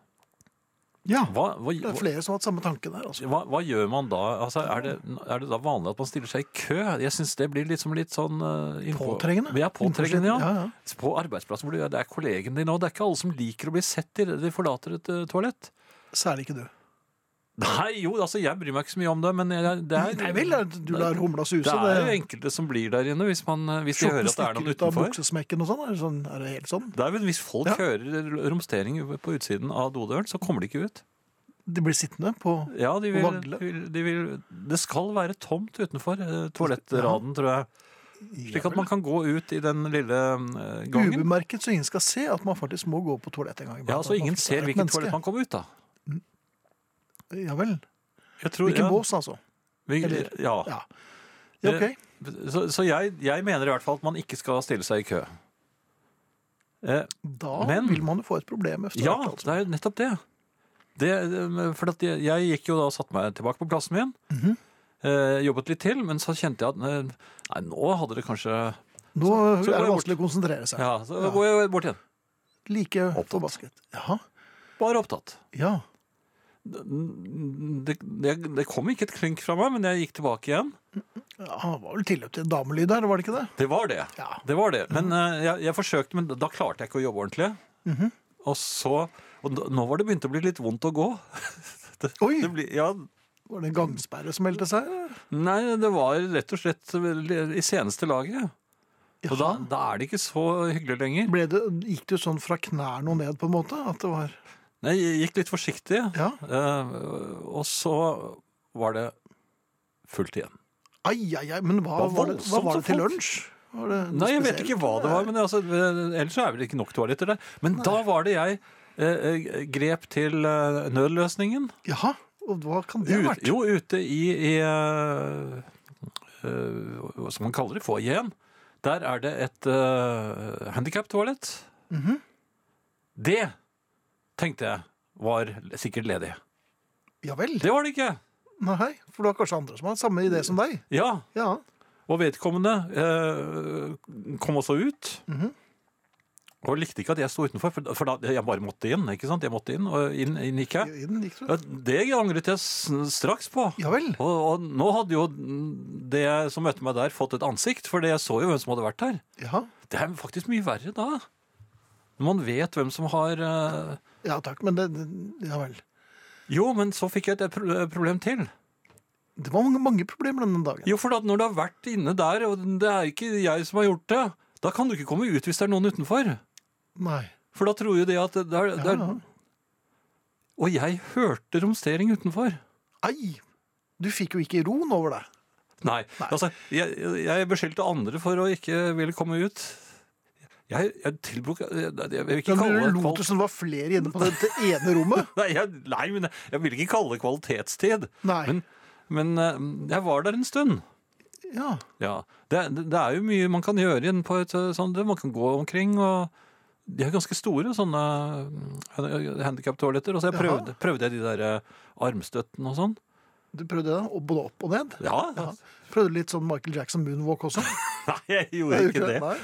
[SPEAKER 1] Ja.
[SPEAKER 2] Hva, hva,
[SPEAKER 1] Det er
[SPEAKER 2] hva,
[SPEAKER 1] flere som har hatt samme tanke der. Altså.
[SPEAKER 2] hva, hva gjør man da? Altså, er, det, er det da vanlig at man stiller seg i kø? Jeg syns det blir liksom litt sånn eh, innpå-
[SPEAKER 1] Påtrengende.
[SPEAKER 2] Ja, påtrengende, ja.
[SPEAKER 1] Ja, ja.
[SPEAKER 2] På arbeidsplassen hvor du, det er kollegene dine, og det er ikke alle som liker å bli sett idet de forlater et eh, toalett.
[SPEAKER 1] Særlig ikke du.
[SPEAKER 2] Nei, jo, altså jeg bryr meg ikke så mye om det, men jeg, det er
[SPEAKER 1] Nei vel, du lar humla suse.
[SPEAKER 2] Det er jo enkelte som blir der inne hvis, man, eh, hvis de hører at det er noen
[SPEAKER 1] ut av
[SPEAKER 2] utenfor.
[SPEAKER 1] buksesmekken og sånn. Er, det sånn, er det helt sånn?
[SPEAKER 2] Det er vel Hvis folk
[SPEAKER 1] Ja.
[SPEAKER 2] hører romstering på utsiden av dodøren, så kommer de ikke ut.
[SPEAKER 1] De blir sittende på
[SPEAKER 2] Ja, de vil,
[SPEAKER 1] Vagle.
[SPEAKER 2] de vil, de vil, Det skal være tomt utenfor eh, toalettraden, tror jeg. Slik at man kan gå ut i den lille eh, gangen.
[SPEAKER 1] ubemerket, så ingen skal se at man faktisk må gå på toalettet en gang.
[SPEAKER 2] Ja, Så ingen ser hvilket toalett man kommer ut av.
[SPEAKER 1] Ja vel.
[SPEAKER 2] Jeg tror-
[SPEAKER 1] Hvilken
[SPEAKER 2] ja,
[SPEAKER 1] bås, altså.
[SPEAKER 2] vi-
[SPEAKER 1] eller-
[SPEAKER 2] Ja.
[SPEAKER 1] Ja. Ja, ok.
[SPEAKER 2] Så, så jeg, jeg mener i hvert fall at man ikke skal stille seg i kø. Eh,
[SPEAKER 1] Da
[SPEAKER 2] men-
[SPEAKER 1] vil man jo få et problem. Efter
[SPEAKER 2] Ja,
[SPEAKER 1] hvert, altså.
[SPEAKER 2] det er jo nettopp det. det eh, for at jeg, jeg gikk jo da og satte meg tilbake på plassen min. eh, jobbet litt til, men så kjente jeg at eh, Nei, nå hadde det kanskje
[SPEAKER 1] Nå
[SPEAKER 2] så
[SPEAKER 1] er
[SPEAKER 2] går jeg
[SPEAKER 1] det
[SPEAKER 2] bort.
[SPEAKER 1] vanskelig å konsentrere seg.
[SPEAKER 2] Ja, så går jeg bort igjen.
[SPEAKER 1] Like
[SPEAKER 2] Opptatt.
[SPEAKER 1] forbasket. Jaha.
[SPEAKER 2] Bare opptatt.
[SPEAKER 1] Ja.
[SPEAKER 2] Det, det, det kom ikke et klink fra meg, men jeg gikk tilbake igjen.
[SPEAKER 1] ja, det var vel tilløp til en damelyd her, var det ikke det?
[SPEAKER 2] Det var det.
[SPEAKER 1] Ja.
[SPEAKER 2] Det var det. Men eh, jeg, jeg forsøkte, men da klarte jeg ikke å jobbe ordentlig. Mhm. Og så Og da, nå var det begynt å bli litt vondt å gå. Det,
[SPEAKER 1] Oi!
[SPEAKER 2] det blir- ja,
[SPEAKER 1] Var det en gangsperre som meldte seg?
[SPEAKER 2] Nei, det var rett og slett vel- i seneste laget. Og da, da er det ikke så hyggelig lenger.
[SPEAKER 1] Ble det, gikk det sånn fra knærne og ned, på en måte? At det var
[SPEAKER 2] Nei, Jeg gikk litt forsiktig,
[SPEAKER 1] Ja.
[SPEAKER 2] eh, og så var det fullt igjen.
[SPEAKER 1] Ai, ai, ai. Men hva
[SPEAKER 2] Det var
[SPEAKER 1] var det, hva
[SPEAKER 2] voldsomt
[SPEAKER 1] var
[SPEAKER 2] så
[SPEAKER 1] det til
[SPEAKER 2] fort.
[SPEAKER 1] lunsj? Var det noe
[SPEAKER 2] Nei, jeg vet
[SPEAKER 1] spesielt?
[SPEAKER 2] ikke hva det var, men altså, ellers er det ikke nok toaletter der. Men da var det jeg eh, eh, grep til eh, nødløsningen.
[SPEAKER 1] Jaha. Og hva kan det ha
[SPEAKER 2] Ut,
[SPEAKER 1] vært?
[SPEAKER 2] jo, ute i, i eh, eh, Hva skal man kalle det? Foajeen. Der er det et uh, handikaptoalett.
[SPEAKER 1] Mhm.
[SPEAKER 2] Det tenkte jeg var sikkert ledig.
[SPEAKER 1] Ja vel.
[SPEAKER 2] Det var det ikke.
[SPEAKER 1] Nei, for det var kanskje andre som hadde samme idé som deg.
[SPEAKER 2] Ja,
[SPEAKER 1] Ja.
[SPEAKER 2] Og vedkommende eh, kom også ut. Og likte ikke at jeg sto utenfor, for, for da, jeg bare måtte inn. ikke sant? Jeg måtte inn, og inn, inn gikk jeg.
[SPEAKER 1] I den gikk det.
[SPEAKER 2] Ja, Det angret jeg s- straks på.
[SPEAKER 1] Ja vel.
[SPEAKER 2] Og, og nå hadde jo det som møtte meg der, fått et ansikt, for jeg så jo hvem som hadde vært der.
[SPEAKER 1] Ja.
[SPEAKER 2] Det er faktisk mye verre da. Når man vet hvem som har eh,
[SPEAKER 1] ja takk, men det det- Ja vel.
[SPEAKER 2] Jo, men så fikk jeg et eh, pro- problem til.
[SPEAKER 1] Det var mange, mange problemer denne dagen.
[SPEAKER 2] Jo, for at når du har vært inne der, og det er ikke jeg som har gjort det, da kan du ikke komme ut hvis det er noen utenfor.
[SPEAKER 1] Nei.
[SPEAKER 2] For da tror jo de at det er, det er
[SPEAKER 1] Ja.
[SPEAKER 2] Og jeg hørte romstering utenfor.
[SPEAKER 1] Ai! Du fikk jo ikke roen over deg.
[SPEAKER 2] Nei. Altså, jeg, jeg beskyldte andre for å ikke ville komme ut. Jeg, jeg tilbruk jeg, jeg vil ikke
[SPEAKER 1] Men
[SPEAKER 2] kalle
[SPEAKER 1] du
[SPEAKER 2] det
[SPEAKER 1] lot
[SPEAKER 2] kval-
[SPEAKER 1] det som det var flere inne på dette ene rommet.
[SPEAKER 2] Nei, jeg, nei, men jeg, jeg vil ikke kalle det kvalitetstid.
[SPEAKER 1] Nei.
[SPEAKER 2] [laughs] Men, men eh, jeg var der en stund.
[SPEAKER 1] Ja.
[SPEAKER 2] Ja. Det, det er jo mye man kan gjøre inn på et eh, sånt Man kan gå omkring og De er ganske store, sånne eh, handikaptoaletter. Og så jeg
[SPEAKER 1] Jaha.
[SPEAKER 2] prøvde, prøvde jeg de der eh, armstøttene og sånn.
[SPEAKER 1] Du prøvde det, og både opp og ned.
[SPEAKER 2] ja.
[SPEAKER 1] Ja. Prøvde litt sånn Michael Jackson moonwalk også.
[SPEAKER 2] Nei, jeg
[SPEAKER 1] Det
[SPEAKER 2] gjorde
[SPEAKER 1] er jo
[SPEAKER 2] ikke det.
[SPEAKER 1] Nei.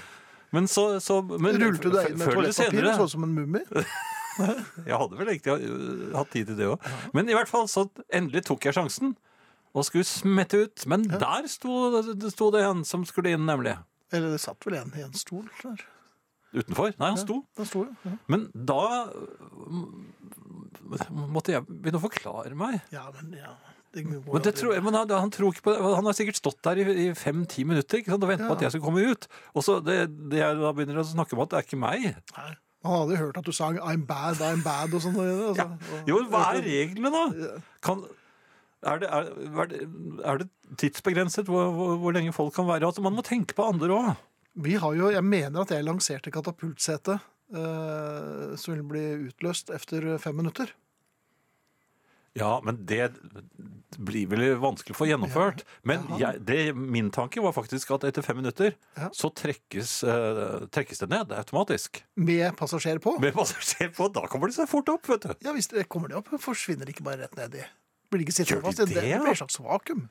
[SPEAKER 2] Men så, så men,
[SPEAKER 1] Rullet du deg inn med
[SPEAKER 2] før eller
[SPEAKER 1] toalettpapir sånn?
[SPEAKER 2] senere-
[SPEAKER 1] og så ut som en mumie?
[SPEAKER 2] Jeg hadde vel egentlig øh, hatt tid til det òg. Men i hvert fall så endelig tok jeg sjansen og skulle smette ut. Men der sto, det sto det en som skulle inn, nemlig.
[SPEAKER 1] Eller det satt vel en i en stol der.
[SPEAKER 2] Utenfor. Nei, han sto.
[SPEAKER 1] Den sto jo. Ja.
[SPEAKER 2] Men da øh, måtte jeg begynne å forklare meg.
[SPEAKER 1] ja, men ja. Det må jo
[SPEAKER 2] Men, det
[SPEAKER 1] aldri-
[SPEAKER 2] tror jeg, men han, han tror ikke på det. Han har sikkert stått der i, i fem-ti minutter ikke sant, og ventet på at jeg skulle komme ut. Og så det, det jeg da begynner å snakke om at det er ikke meg.
[SPEAKER 1] Nei. Han hadde jo hørt at du sang 'I'm bad, I'm bad' og sånn. og-
[SPEAKER 2] Ja.
[SPEAKER 1] Altså. Og-
[SPEAKER 2] Jo, men hva er reglene, da? Kan, er, det, er, er det- er det tidsbegrenset hvor, hvor, hvor lenge folk kan være? Altså, man må tenke på andre òg.
[SPEAKER 1] Vi har jo, jeg mener at jeg lanserte katapultsetet eh, som ville bli utløst etter fem minutter.
[SPEAKER 2] Ja, men det blir vel vanskelig å få gjennomført. Men jeg, det, min tanke var faktisk at etter fem minutter
[SPEAKER 1] Ja.
[SPEAKER 2] så trekkes, eh, trekkes det ned automatisk.
[SPEAKER 1] Med passasjer på.
[SPEAKER 2] Med passasjer på, da kommer det seg fort opp, vet du.
[SPEAKER 1] Ja, hvis det kommer de opp, forsvinner de ikke bare rett ned i. Blir de ikke sittende
[SPEAKER 2] Gjør de
[SPEAKER 1] fast. Det, det
[SPEAKER 2] det,
[SPEAKER 1] blir et slags vakuum.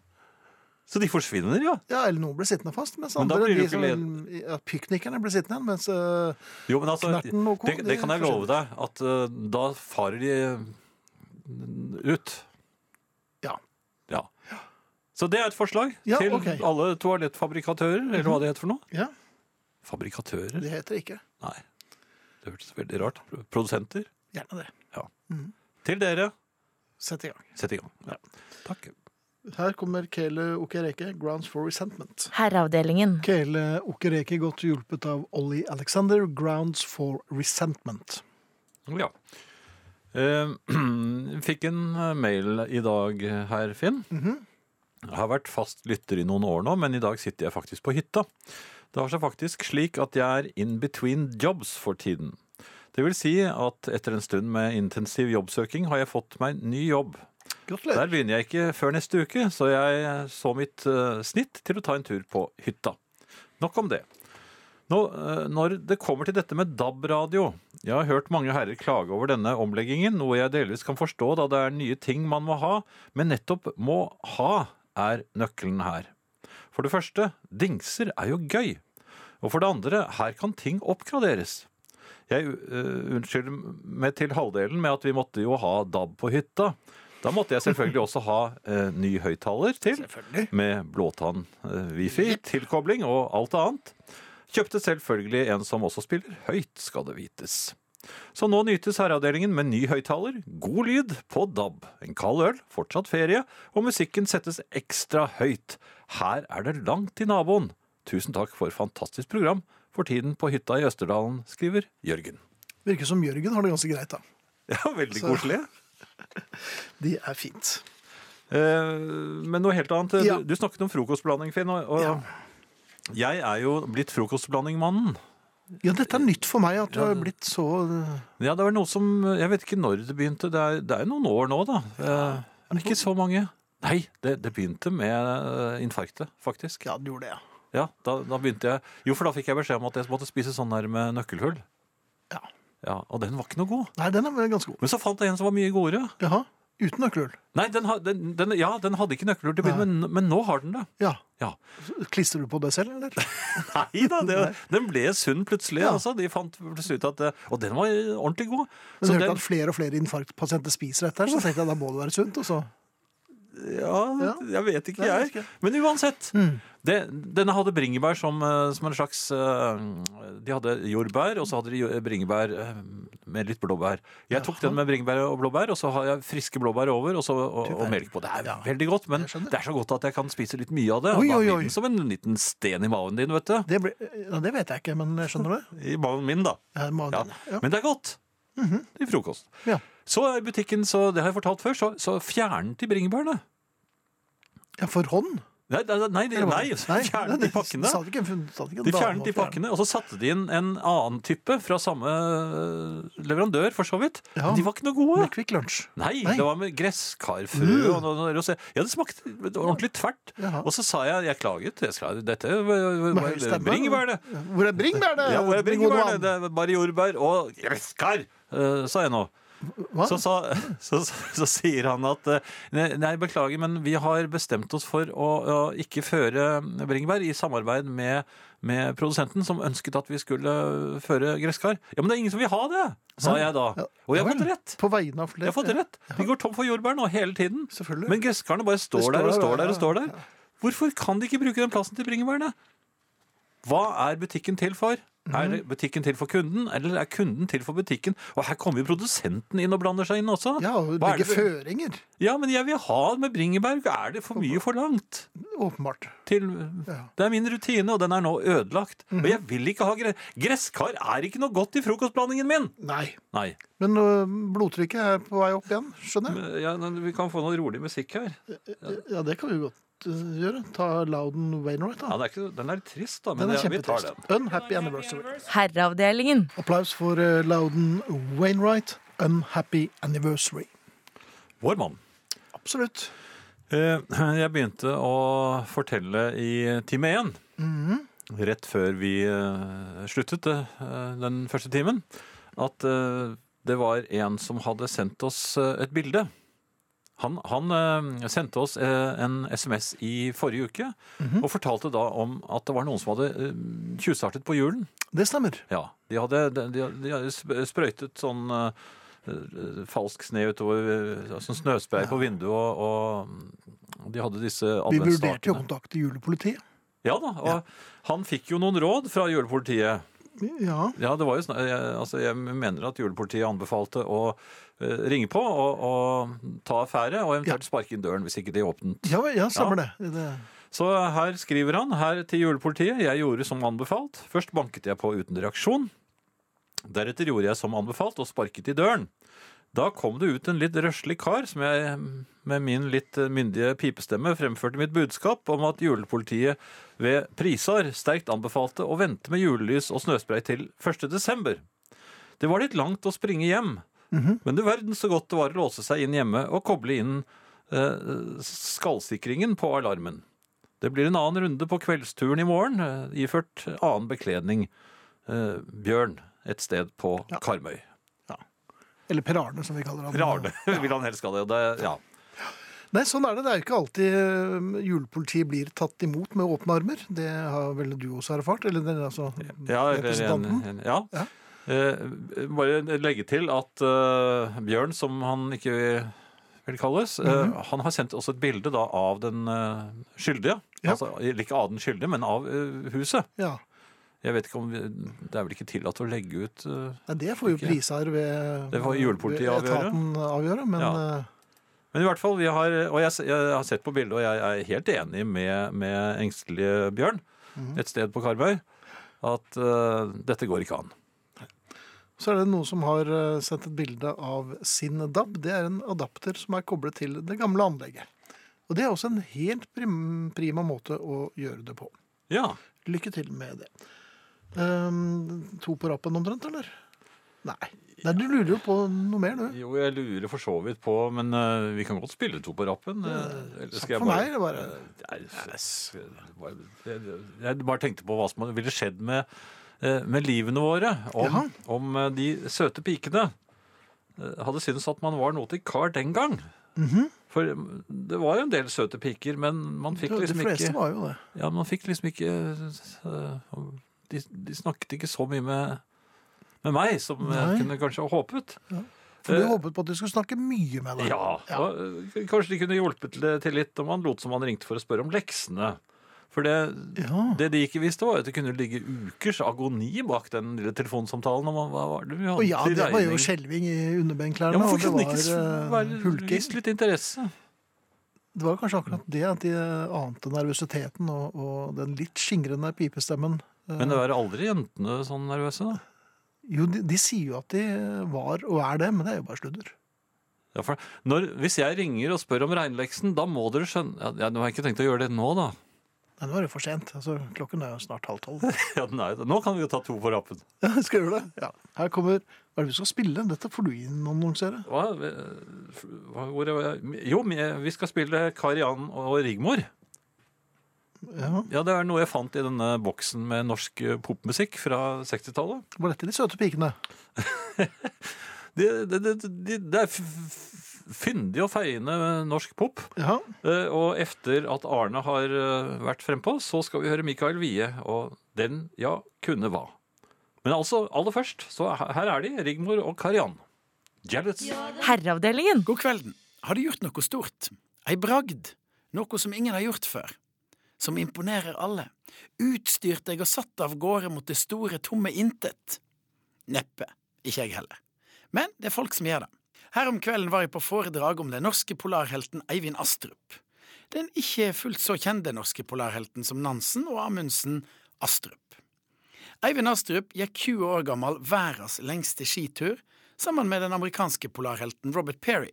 [SPEAKER 2] Så de forsvinner, ja.
[SPEAKER 1] Ja, eller noen blir sittende fast, mens
[SPEAKER 2] Men da
[SPEAKER 1] andre,
[SPEAKER 2] blir det
[SPEAKER 1] de
[SPEAKER 2] jo
[SPEAKER 1] som,
[SPEAKER 2] ikke
[SPEAKER 1] ja, piknikerne blir sittende igjen, mens eh,
[SPEAKER 2] Jo, men altså,
[SPEAKER 1] Knerten og co,
[SPEAKER 2] det,
[SPEAKER 1] de
[SPEAKER 2] det kan jeg love deg, at eh, da farer de eh, ut.
[SPEAKER 1] ja.
[SPEAKER 2] Ja. Så det er et forslag
[SPEAKER 1] Ja,
[SPEAKER 2] til
[SPEAKER 1] ok. Mhm.
[SPEAKER 2] alle toalettfabrikatører, eller hva det heter for noe.
[SPEAKER 1] ja,
[SPEAKER 2] Fabrikatører?
[SPEAKER 1] det heter det ikke.
[SPEAKER 2] Nei. Det hørtes veldig rart. Produsenter?
[SPEAKER 1] Gjerne det.
[SPEAKER 2] Ja. Til dere.
[SPEAKER 1] Sett i gang.
[SPEAKER 2] Sett i gang. Ja. Takk.
[SPEAKER 1] Her kommer Kele Okereke, 'Grounds for Resentment'.
[SPEAKER 7] Herreavdelingen.
[SPEAKER 1] Kele Okereke, godt hjulpet av Ollie Alexander, 'Grounds for Resentment'.
[SPEAKER 2] Ja. Eh, [clears throat] Fikk en eh, mail i dag her, Finn.
[SPEAKER 1] Mhm.
[SPEAKER 2] Jeg har vært fast lytter i noen år nå, men i dag sitter jeg faktisk på hytta. Det har seg faktisk slik at jeg er in between jobs for tiden. Det vil si at etter en stund med intensiv jobbsøking har jeg fått meg ny jobb. Der
[SPEAKER 1] Gratulerer.
[SPEAKER 2] begynner jeg ikke før neste uke, så jeg så mitt eh, snitt til å ta en tur på hytta. Nok om det. Nå, eh, når det kommer til dette med DAB-radio Jeg har hørt mange herrer klage over denne omleggingen, noe jeg delvis kan forstå da det er nye ting man må ha, men nettopp 'må ha' er nøkkelen her. For det første, dingser er jo gøy. Og for det andre, her kan ting oppgraderes. Jeg eh, unnskylder meg til halvdelen med at vi måtte jo ha DAB på hytta. Da måtte jeg selvfølgelig også ha eh, ny høyttaler til
[SPEAKER 1] Selvfølgelig.
[SPEAKER 2] med blåtann eh, wifi, tilkobling og alt annet. Kjøpte selvfølgelig en som også spiller høyt, skal det vites. Så nå nytes herreavdelingen med ny høyttaler, god lyd på DAB, en kald øl, fortsatt ferie, og musikken settes ekstra høyt. Her er det langt til naboen. Tusen takk for fantastisk program for tiden på hytta i Østerdalen, skriver Jørgen. [laughs]
[SPEAKER 1] Virker som Jørgen har det ganske greit, da.
[SPEAKER 2] Ja, veldig
[SPEAKER 1] Så-
[SPEAKER 2] koselig.
[SPEAKER 1] De er fint.
[SPEAKER 2] Eh, Men noe helt annet.
[SPEAKER 1] Ja.
[SPEAKER 2] Du, du snakket om frokostblanding, Finn. Og, og
[SPEAKER 1] Ja.
[SPEAKER 2] jeg er jo blitt frokostblandingmannen.
[SPEAKER 1] Ja, dette er nytt for meg, at du
[SPEAKER 2] Ja,
[SPEAKER 1] har
[SPEAKER 2] det-
[SPEAKER 1] blitt så eh,
[SPEAKER 2] Ja, det var noe som Jeg vet ikke når det begynte. Det er, det er noen år nå, da. Eh, men ikke så mange. Nei, det, det begynte med eh, infarktet, faktisk.
[SPEAKER 1] Ja, du gjorde det, ja.
[SPEAKER 2] Ja, da, da begynte jeg Jo, for da fikk jeg beskjed om at jeg måtte spise sånn der med nøkkelhull.
[SPEAKER 1] Ja.
[SPEAKER 2] Ja, Og den var ikke noe god.
[SPEAKER 1] Nei, den er vel ganske god.
[SPEAKER 2] Men så fant jeg en som var mye godere.
[SPEAKER 1] Jaha. Uten nøkkelhull.
[SPEAKER 2] Nei, den, ha- den, den, ja, den hadde ikke nøkkelhull til å begynne med, men nå har den det.
[SPEAKER 1] Ja.
[SPEAKER 2] Ja.
[SPEAKER 1] Klistrer du på det selv, [laughs] eller?
[SPEAKER 2] Nei da, det, den ble sunn plutselig.
[SPEAKER 1] Ja.
[SPEAKER 2] Altså. De fant plutselig ut at det, Og den var ordentlig god.
[SPEAKER 1] Men
[SPEAKER 2] Så
[SPEAKER 1] jeg hørte
[SPEAKER 2] den,
[SPEAKER 1] at flere og flere infarktpasienter spiser dette, her, så tenkte jeg da må det være sunt. Og så
[SPEAKER 2] ja,
[SPEAKER 1] Ja.
[SPEAKER 2] jeg vet ikke,
[SPEAKER 1] Nei, jeg vet
[SPEAKER 2] jeg. Men uansett.
[SPEAKER 1] Mm.
[SPEAKER 2] Det, denne hadde bringebær som, eh, som en slags eh, De hadde jordbær, og så hadde de jo- bringebær eh, med litt blåbær. Jeg tok den med bringebær og blåbær, og så har jeg friske blåbær over og, så, og, og melk på. Det er veldig godt, men
[SPEAKER 1] Jeg skjønner.
[SPEAKER 2] det er så godt at jeg kan spise litt mye av det.
[SPEAKER 1] Oi,
[SPEAKER 2] og da
[SPEAKER 1] oi,
[SPEAKER 2] blir
[SPEAKER 1] oi.
[SPEAKER 2] den som en liten sten i maven din, vet du.
[SPEAKER 1] det, ble, ja, det vet jeg ikke, men jeg skjønner det.
[SPEAKER 2] I maven min, da.
[SPEAKER 1] Jeg må,
[SPEAKER 2] Ja.
[SPEAKER 1] ja. Mhm.
[SPEAKER 2] Men det er godt. I frokost.
[SPEAKER 1] Ja.
[SPEAKER 2] Så er butikken, så det har jeg fortalt før, så, så fjernet de bringebærene.
[SPEAKER 1] ja, for hånd?
[SPEAKER 2] Nei, nei, nei, de,
[SPEAKER 1] Eller hva?
[SPEAKER 2] nei, så fjernet de
[SPEAKER 1] det-
[SPEAKER 2] pakkene.
[SPEAKER 1] Sa du ikke, sa du ikke
[SPEAKER 2] De
[SPEAKER 1] da,
[SPEAKER 2] fjernet
[SPEAKER 1] må
[SPEAKER 2] de
[SPEAKER 1] fjerne.
[SPEAKER 2] pakkene, og så satte de inn en annen type fra samme eh, leverandør, for så vidt.
[SPEAKER 1] Ja.
[SPEAKER 2] De var ikke noe
[SPEAKER 1] Med
[SPEAKER 2] gode.
[SPEAKER 1] Kvikk Lunsj.
[SPEAKER 2] Nei,
[SPEAKER 1] Nei.
[SPEAKER 2] det var med gresskarfrø
[SPEAKER 1] Mm.
[SPEAKER 2] og noe, noe rosé. Ja, det smakte ordentlig tvert.
[SPEAKER 1] Jaha.
[SPEAKER 2] Og så sa jeg, jeg klaget, jeg klaget dette var-
[SPEAKER 1] Med høy
[SPEAKER 2] var
[SPEAKER 1] stemme.
[SPEAKER 2] bringebærene.
[SPEAKER 1] Hvor er bringebærene?
[SPEAKER 2] Ja, hvor er bringebærene?
[SPEAKER 1] Gode
[SPEAKER 2] Det er bare jordbær og gresskar, eh, sa jeg
[SPEAKER 1] mann.
[SPEAKER 2] nå.
[SPEAKER 1] Hva?
[SPEAKER 2] Så, sa, så, så, så sier han at eh, nei, nei, beklager, men vi har bestemt oss for å, å ikke føre bringebær i samarbeid med, med produsenten, som ønsket at vi skulle føre gresskar. Ja, men det er ingen som vil ha det, sa jeg da.
[SPEAKER 1] Ja.
[SPEAKER 2] Og jeg har
[SPEAKER 1] Ja vel.
[SPEAKER 2] fått rett.
[SPEAKER 1] På vegne av flere.
[SPEAKER 2] Jeg har fått rett. De går tom for jordbær nå hele tiden.
[SPEAKER 1] Selvfølgelig.
[SPEAKER 2] Men gresskarene bare står,
[SPEAKER 1] Det
[SPEAKER 2] der og
[SPEAKER 1] står der,
[SPEAKER 2] står der og
[SPEAKER 1] ja.
[SPEAKER 2] står der. Hvorfor kan de ikke bruke den plassen til bringebærene? Hva er butikken til for? Er det butikken til for kunden, eller er kunden til for butikken? Og her kommer jo produsenten inn og blander seg inn også.
[SPEAKER 1] Ja, og
[SPEAKER 2] Hva er
[SPEAKER 1] legge
[SPEAKER 2] det-
[SPEAKER 1] føringer.
[SPEAKER 2] Ja, men jeg vil ha med bringebær. Er det for mye forlangt?
[SPEAKER 1] Åpenbart.
[SPEAKER 2] Til,
[SPEAKER 1] Ja.
[SPEAKER 2] det er min rutine, og den er nå ødelagt. Og jeg vil ikke ha gre Gresskar er ikke noe godt i frokostblandingen min!
[SPEAKER 1] Nei.
[SPEAKER 2] Nei.
[SPEAKER 1] Men ø, blodtrykket er på vei opp igjen, skjønner jeg.
[SPEAKER 2] Ja, men vi kan få noe rolig musikk her.
[SPEAKER 1] Ja, det kan vi godt ø, gjøre. Ta Loudon Wainwright,
[SPEAKER 2] Ja,
[SPEAKER 1] da.
[SPEAKER 2] det er ikke, den er trist, da, men
[SPEAKER 1] Den er
[SPEAKER 2] jeg- vi tar
[SPEAKER 1] kjempetrist.
[SPEAKER 2] den.
[SPEAKER 1] Unhappy anniversary.
[SPEAKER 7] Herreavdelingen.
[SPEAKER 1] Applaus for ø, Loudon Wainwright. Unhappy anniversary.
[SPEAKER 2] Vår mann.
[SPEAKER 1] Absolutt.
[SPEAKER 2] Eh, Jeg begynte å fortelle i time én,
[SPEAKER 1] Mhm.
[SPEAKER 2] rett før vi eh, sluttet eh, den første timen, at eh, det var en som hadde sendt oss eh, et bilde. Han, han eh, sendte oss eh, en SMS i forrige uke
[SPEAKER 1] Mhm.
[SPEAKER 2] og fortalte da om at det var noen som hadde eh, tjuvstartet på julen.
[SPEAKER 1] Det stemmer.
[SPEAKER 2] Ja, de hadde, de, de de hadde sp- sprøytet sånn eh, eh, falsk sne utover, eh, sånn snøspray på vinduet, og, og de hadde disse
[SPEAKER 1] Vi vurderte jo å
[SPEAKER 2] adventsstakene.
[SPEAKER 1] kontakte julepolitiet.
[SPEAKER 2] Ja da, og han fikk jo noen råd fra julepolitiet.
[SPEAKER 1] Ja.
[SPEAKER 2] Ja, det var jo snak- jeg, altså, jeg mener at julepolitiet anbefalte å eh, ringe på og, og ta affære, og eventuelt sparke inn døren hvis ikke de åpnet.
[SPEAKER 1] Ja, ja stemmer det. det.
[SPEAKER 2] Så her skriver han, her til julepolitiet, jeg gjorde som anbefalt. Først banket jeg på uten reaksjon. Deretter gjorde jeg som anbefalt og sparket i døren. Da kom det ut en litt røslig kar som jeg med min litt myndige pipestemme fremførte mitt budskap om at julepolitiet ved Prisar sterkt anbefalte å vente med julelys og snøspray til 1. desember. Det var litt langt å springe hjem, men du verden så godt det var å låse seg inn hjemme og koble inn eh, skallsikringen på alarmen. Det blir en annen runde på kveldsturen i morgen, eh, iført annen bekledning. Eh, Bjørn, et sted på
[SPEAKER 1] Ja.
[SPEAKER 2] Karmøy.
[SPEAKER 1] Eller Per Arne, som vi kaller han.
[SPEAKER 2] Rarne [laughs] vil han helst kalle det. det. Ja.
[SPEAKER 1] Nei, sånn er det. Det er ikke alltid eh, julepolitiet blir tatt imot med åpne armer. Det har vel du også erfart? Eller den, altså,
[SPEAKER 2] Ja, eller en,
[SPEAKER 1] representanten?
[SPEAKER 2] en, ja.
[SPEAKER 1] Ja.
[SPEAKER 2] Eh, bare legge til at eh, Bjørn, som han ikke vil, vil kalles, eh,
[SPEAKER 1] Mhm.
[SPEAKER 2] han har sendt oss et bilde da, av den eh, skyldige.
[SPEAKER 1] Ja.
[SPEAKER 2] Altså, eller ikke av den skyldige, men av eh, huset.
[SPEAKER 1] Ja.
[SPEAKER 2] Jeg vet ikke om vi, Det er vel ikke tillatt å legge ut eh,
[SPEAKER 1] Nei, det får jo
[SPEAKER 2] Ikke.
[SPEAKER 1] priser ved
[SPEAKER 2] Det får julepolitiet
[SPEAKER 1] ved
[SPEAKER 2] avgjøre.
[SPEAKER 1] Etaten avgjøre, men
[SPEAKER 2] Ja.
[SPEAKER 1] eh,
[SPEAKER 2] Men i hvert fall, vi har, og jeg, jeg har sett på bildet, og jeg er helt enig med, med engstelige Bjørn et sted på Karmøy, at eh, dette går ikke an.
[SPEAKER 1] så er det noen som har eh, sendt et bilde av sin DAB. Det er en adapter som er koblet til det gamle anlegget. Og det er også en helt prim, prima måte å gjøre det på.
[SPEAKER 2] Ja,
[SPEAKER 1] Lykke til med det. Ehm, to på rappen omtrent, eller? Nei. Nei, du lurer jo på noe mer, du.
[SPEAKER 2] jo, jeg lurer for så vidt på, men eh, vi kan godt spille to på rappen. eh, eller
[SPEAKER 1] Takk
[SPEAKER 2] skal jeg
[SPEAKER 1] for
[SPEAKER 2] bare-
[SPEAKER 1] meg, det bare.
[SPEAKER 2] Nei, s- bare- jeg- Jeg bare tenkte på hva som ville skjedd med, eh, med livene våre om, om eh, de søte pikene eh, hadde syntes at man var noe til kar den gang.
[SPEAKER 1] Mhm.
[SPEAKER 2] For eh, det var jo en del søte piker, men man fikk
[SPEAKER 1] De
[SPEAKER 2] liksom
[SPEAKER 1] fleste
[SPEAKER 2] ikke
[SPEAKER 1] var jo det.
[SPEAKER 2] Ja, man fikk liksom ikke eh, De, de snakket ikke så mye med, med meg som jeg kunne kanskje ha håpet.
[SPEAKER 1] For du
[SPEAKER 2] Eh,
[SPEAKER 1] håpet på at de skulle snakke mye med deg.
[SPEAKER 2] Ja, og, eh, Kanskje de kunne hjulpet til- til litt om han lot som han ringte for å spørre om leksene. For det,
[SPEAKER 1] Ja.
[SPEAKER 2] det de ikke visste, var at det kunne ligge ukers agoni bak den lille telefonsamtalen. Om hva var det vi hadde
[SPEAKER 1] Og ja,
[SPEAKER 2] til
[SPEAKER 1] det var jo
[SPEAKER 2] regning.
[SPEAKER 1] skjelving i
[SPEAKER 2] Ja,
[SPEAKER 1] underbenklærne.
[SPEAKER 2] men
[SPEAKER 1] og
[SPEAKER 2] Hvorfor
[SPEAKER 1] det
[SPEAKER 2] kunne de ikke s-
[SPEAKER 1] var eh,
[SPEAKER 2] være
[SPEAKER 1] hulking.
[SPEAKER 2] vist litt interesse?
[SPEAKER 1] Det var kanskje akkurat det at de eh, ante nervøsiteten og, og den litt skingrende pipestemmen. Eh,
[SPEAKER 2] Men det er aldri jentene sånn nervøse, da.
[SPEAKER 1] Jo, de, de sier jo at de var og er det, men det er jo bare sludder.
[SPEAKER 2] Ja, for når, hvis jeg ringer og spør om regnleksen, da må dere skjønne ja, ja, Nå har jeg ikke tenkt å gjøre det nå, da. [laughs]
[SPEAKER 1] Nei, nå er det for sent. Altså, klokken er jo snart halv tolv.
[SPEAKER 2] Ja, nei, nå kan vi jo ta to på rappen.
[SPEAKER 1] Ja, skal jeg gjøre det? Ja. Her kommer Hva er det vi skal spille? Dette får du innannonsere.
[SPEAKER 2] Hva, hva, hvor er, jo, vi skal spille Karian og Rigmor.
[SPEAKER 1] Ja.
[SPEAKER 2] Ja, det er noe jeg fant i denne boksen med norsk eh, popmusikk fra 60-tallet.
[SPEAKER 1] Var dette de søte pikene?
[SPEAKER 2] Det, det, det, det, det er f- f- fyndig og feiende norsk pop.
[SPEAKER 1] Ja.
[SPEAKER 2] Eh, Og efter at Arne har eh, vært frempå, så skal vi høre Mikael Wie og Den ja kunne hva. Men altså, aller først, så her her er de, Rigmor og Karian. Jealous.
[SPEAKER 7] Herreavdelingen.
[SPEAKER 8] God kvelden. Har du gjort noe stort? Ei bragd? Noe som ingen har gjort før? Som imponerer alle? Utstyrt jeg og satt av gårde mot det store, tomme intet? Neppe. Ikke jeg heller. Men det er folk som gjør det. Her om kvelden var jeg på foredrag om den norske polarhelten Eivind Astrup. Den ikke fullt så kjente norske polarhelten som Nansen og Amundsen, Astrup. Eivind Astrup gikk 20 år gammel verdens lengste skitur sammen med den amerikanske polarhelten Robert Perry.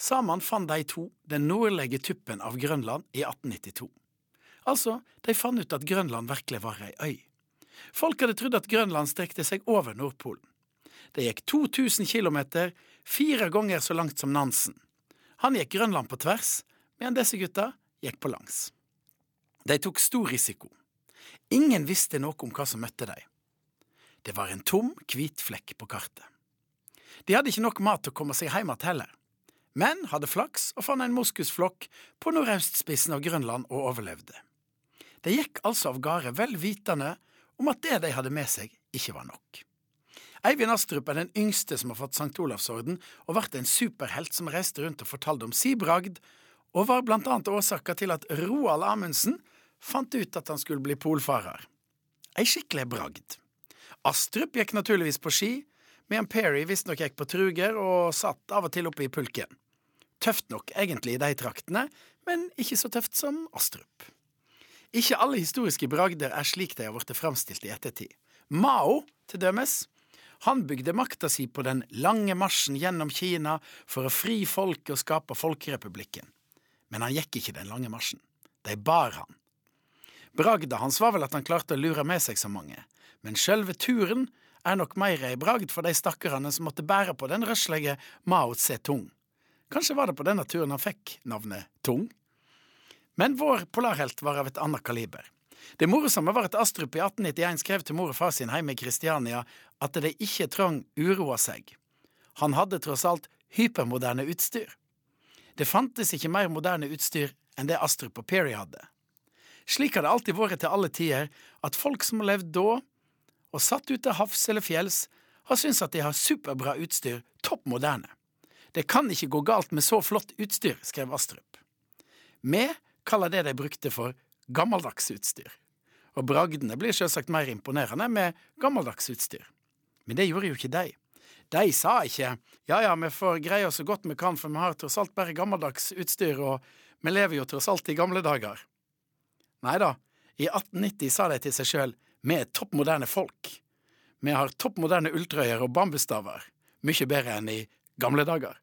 [SPEAKER 8] Sammen fant de to den nordlige tuppen av Grønland i 1892. Altså, de fant ut at Grønland virkelig var ei øy. Folk hadde trodd at Grønland strekte seg over Nordpolen. Det gikk 2000 km, fire ganger så langt som Nansen. Han gikk Grønland på tvers, mens disse gutta gikk på langs. De tok stor risiko. Ingen visste noe om hva som møtte dem. Det var en tom, hvit flekk på kartet. De hadde ikke nok mat til å komme seg hjem igjen heller, men hadde flaks og fant en moskusflokk på nordøstspissen av Grønland og overlevde. De gikk altså av gårde vel vitende om at det de hadde med seg, ikke var nok. Eivind Astrup er den yngste som har fått St. Olavsorden, og ble en superhelt som reiste rundt og fortalte om si bragd, og var blant annet årsaka til at Roald Amundsen fant ut at han skulle bli polfarer. Ei skikkelig bragd. Astrup gikk naturligvis på ski, medan Perry visstnok gikk på truger og satt av og til oppe i pulken. Tøft nok egentlig i de traktene, men ikke så tøft som Astrup. Ikke alle historiske bragder er slik de har blitt framstilt i ettertid. Mao, til dømes, han bygde makta si på den lange marsjen gjennom Kina for å fri folket og skape folkerepublikken. Men han gikk ikke den lange marsjen. De bar han. Bragda hans var vel at han klarte å lure med seg så mange, men sjølve turen er nok meir ei bragd for de stakkarene som måtte bære på den røslige Mao Tse-tung. Kanskje var det på denne turen han fikk navnet Tung? Men vår polarhelt var av et annet kaliber. Det morosomme var at Astrup i 1891 skrev til mor og far sin hjemme i Kristiania at de ikke trang uroa seg. Han hadde tross alt hypermoderne utstyr. Det fantes ikke mer moderne utstyr enn det Astrup og Perry hadde. Slik har det alltid vært til alle tider, at folk som har levd da, og satt ut til havs eller fjells, har syntes at de har superbra utstyr, topp moderne. Det kan ikke gå galt med så flott utstyr, skrev Astrup. Vi kaller det de brukte for gammeldags utstyr. Og bragdene blir selvsagt mer imponerende med gammeldags utstyr. Men det gjorde jo ikke de. De sa ikke ja ja, vi får greie oss så godt vi kan, for vi har tross alt bare gammeldags utstyr, og vi lever jo tross alt i gamle dager. Nei da, i 1890 sa de til seg sjøl vi er topp moderne folk. Vi har topp moderne ulltrøyer og bambusstaver. Mye bedre enn i gamle dager.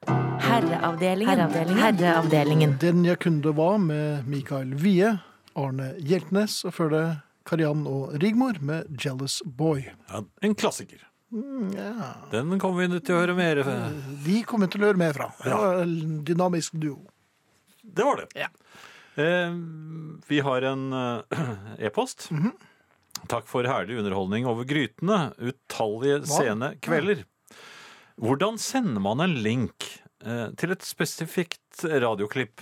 [SPEAKER 7] Herreavdelingen. Herreavdelingen.
[SPEAKER 1] Den jeg kunne det var med Mikael Wie, Arne Hjeltnes, og før det Kariann og Rigmor med 'Jealous Boy'.
[SPEAKER 2] Ja, en klassiker. Den kommer vi til å høre mer eh,
[SPEAKER 1] De kommer til å høre mer fra. Det var en Dynamisk duo.
[SPEAKER 2] Det var det. Eh, vi har en eh, [clears throat] e-post. Takk for herlig underholdning over grytene. Utallige sene kvelder. Hvordan sender man en link eh, til et spesifikt radioklipp?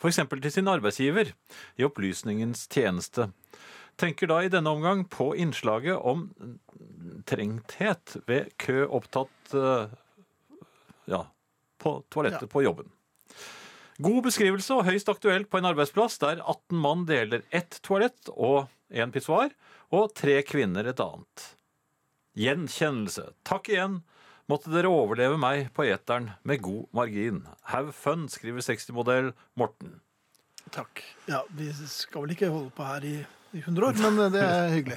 [SPEAKER 2] F.eks. til sin arbeidsgiver i opplysningens tjeneste. Tenker da i denne omgang på innslaget om trengthet ved kø opptatt eh, ja, på toalettet på jobben. God beskrivelse og høyst aktuelt på en arbeidsplass der 18 mann deler ett toalett og en pissoar, og tre kvinner et annet. Gjenkjennelse. Takk igjen. Måtte dere overleve meg på eteren med god margin. Have fun, skriver 60-modell Morten.
[SPEAKER 1] Takk. Ja, Vi skal vel ikke holde på her i i 100 år, men eh, det [laughs] er hyggelig.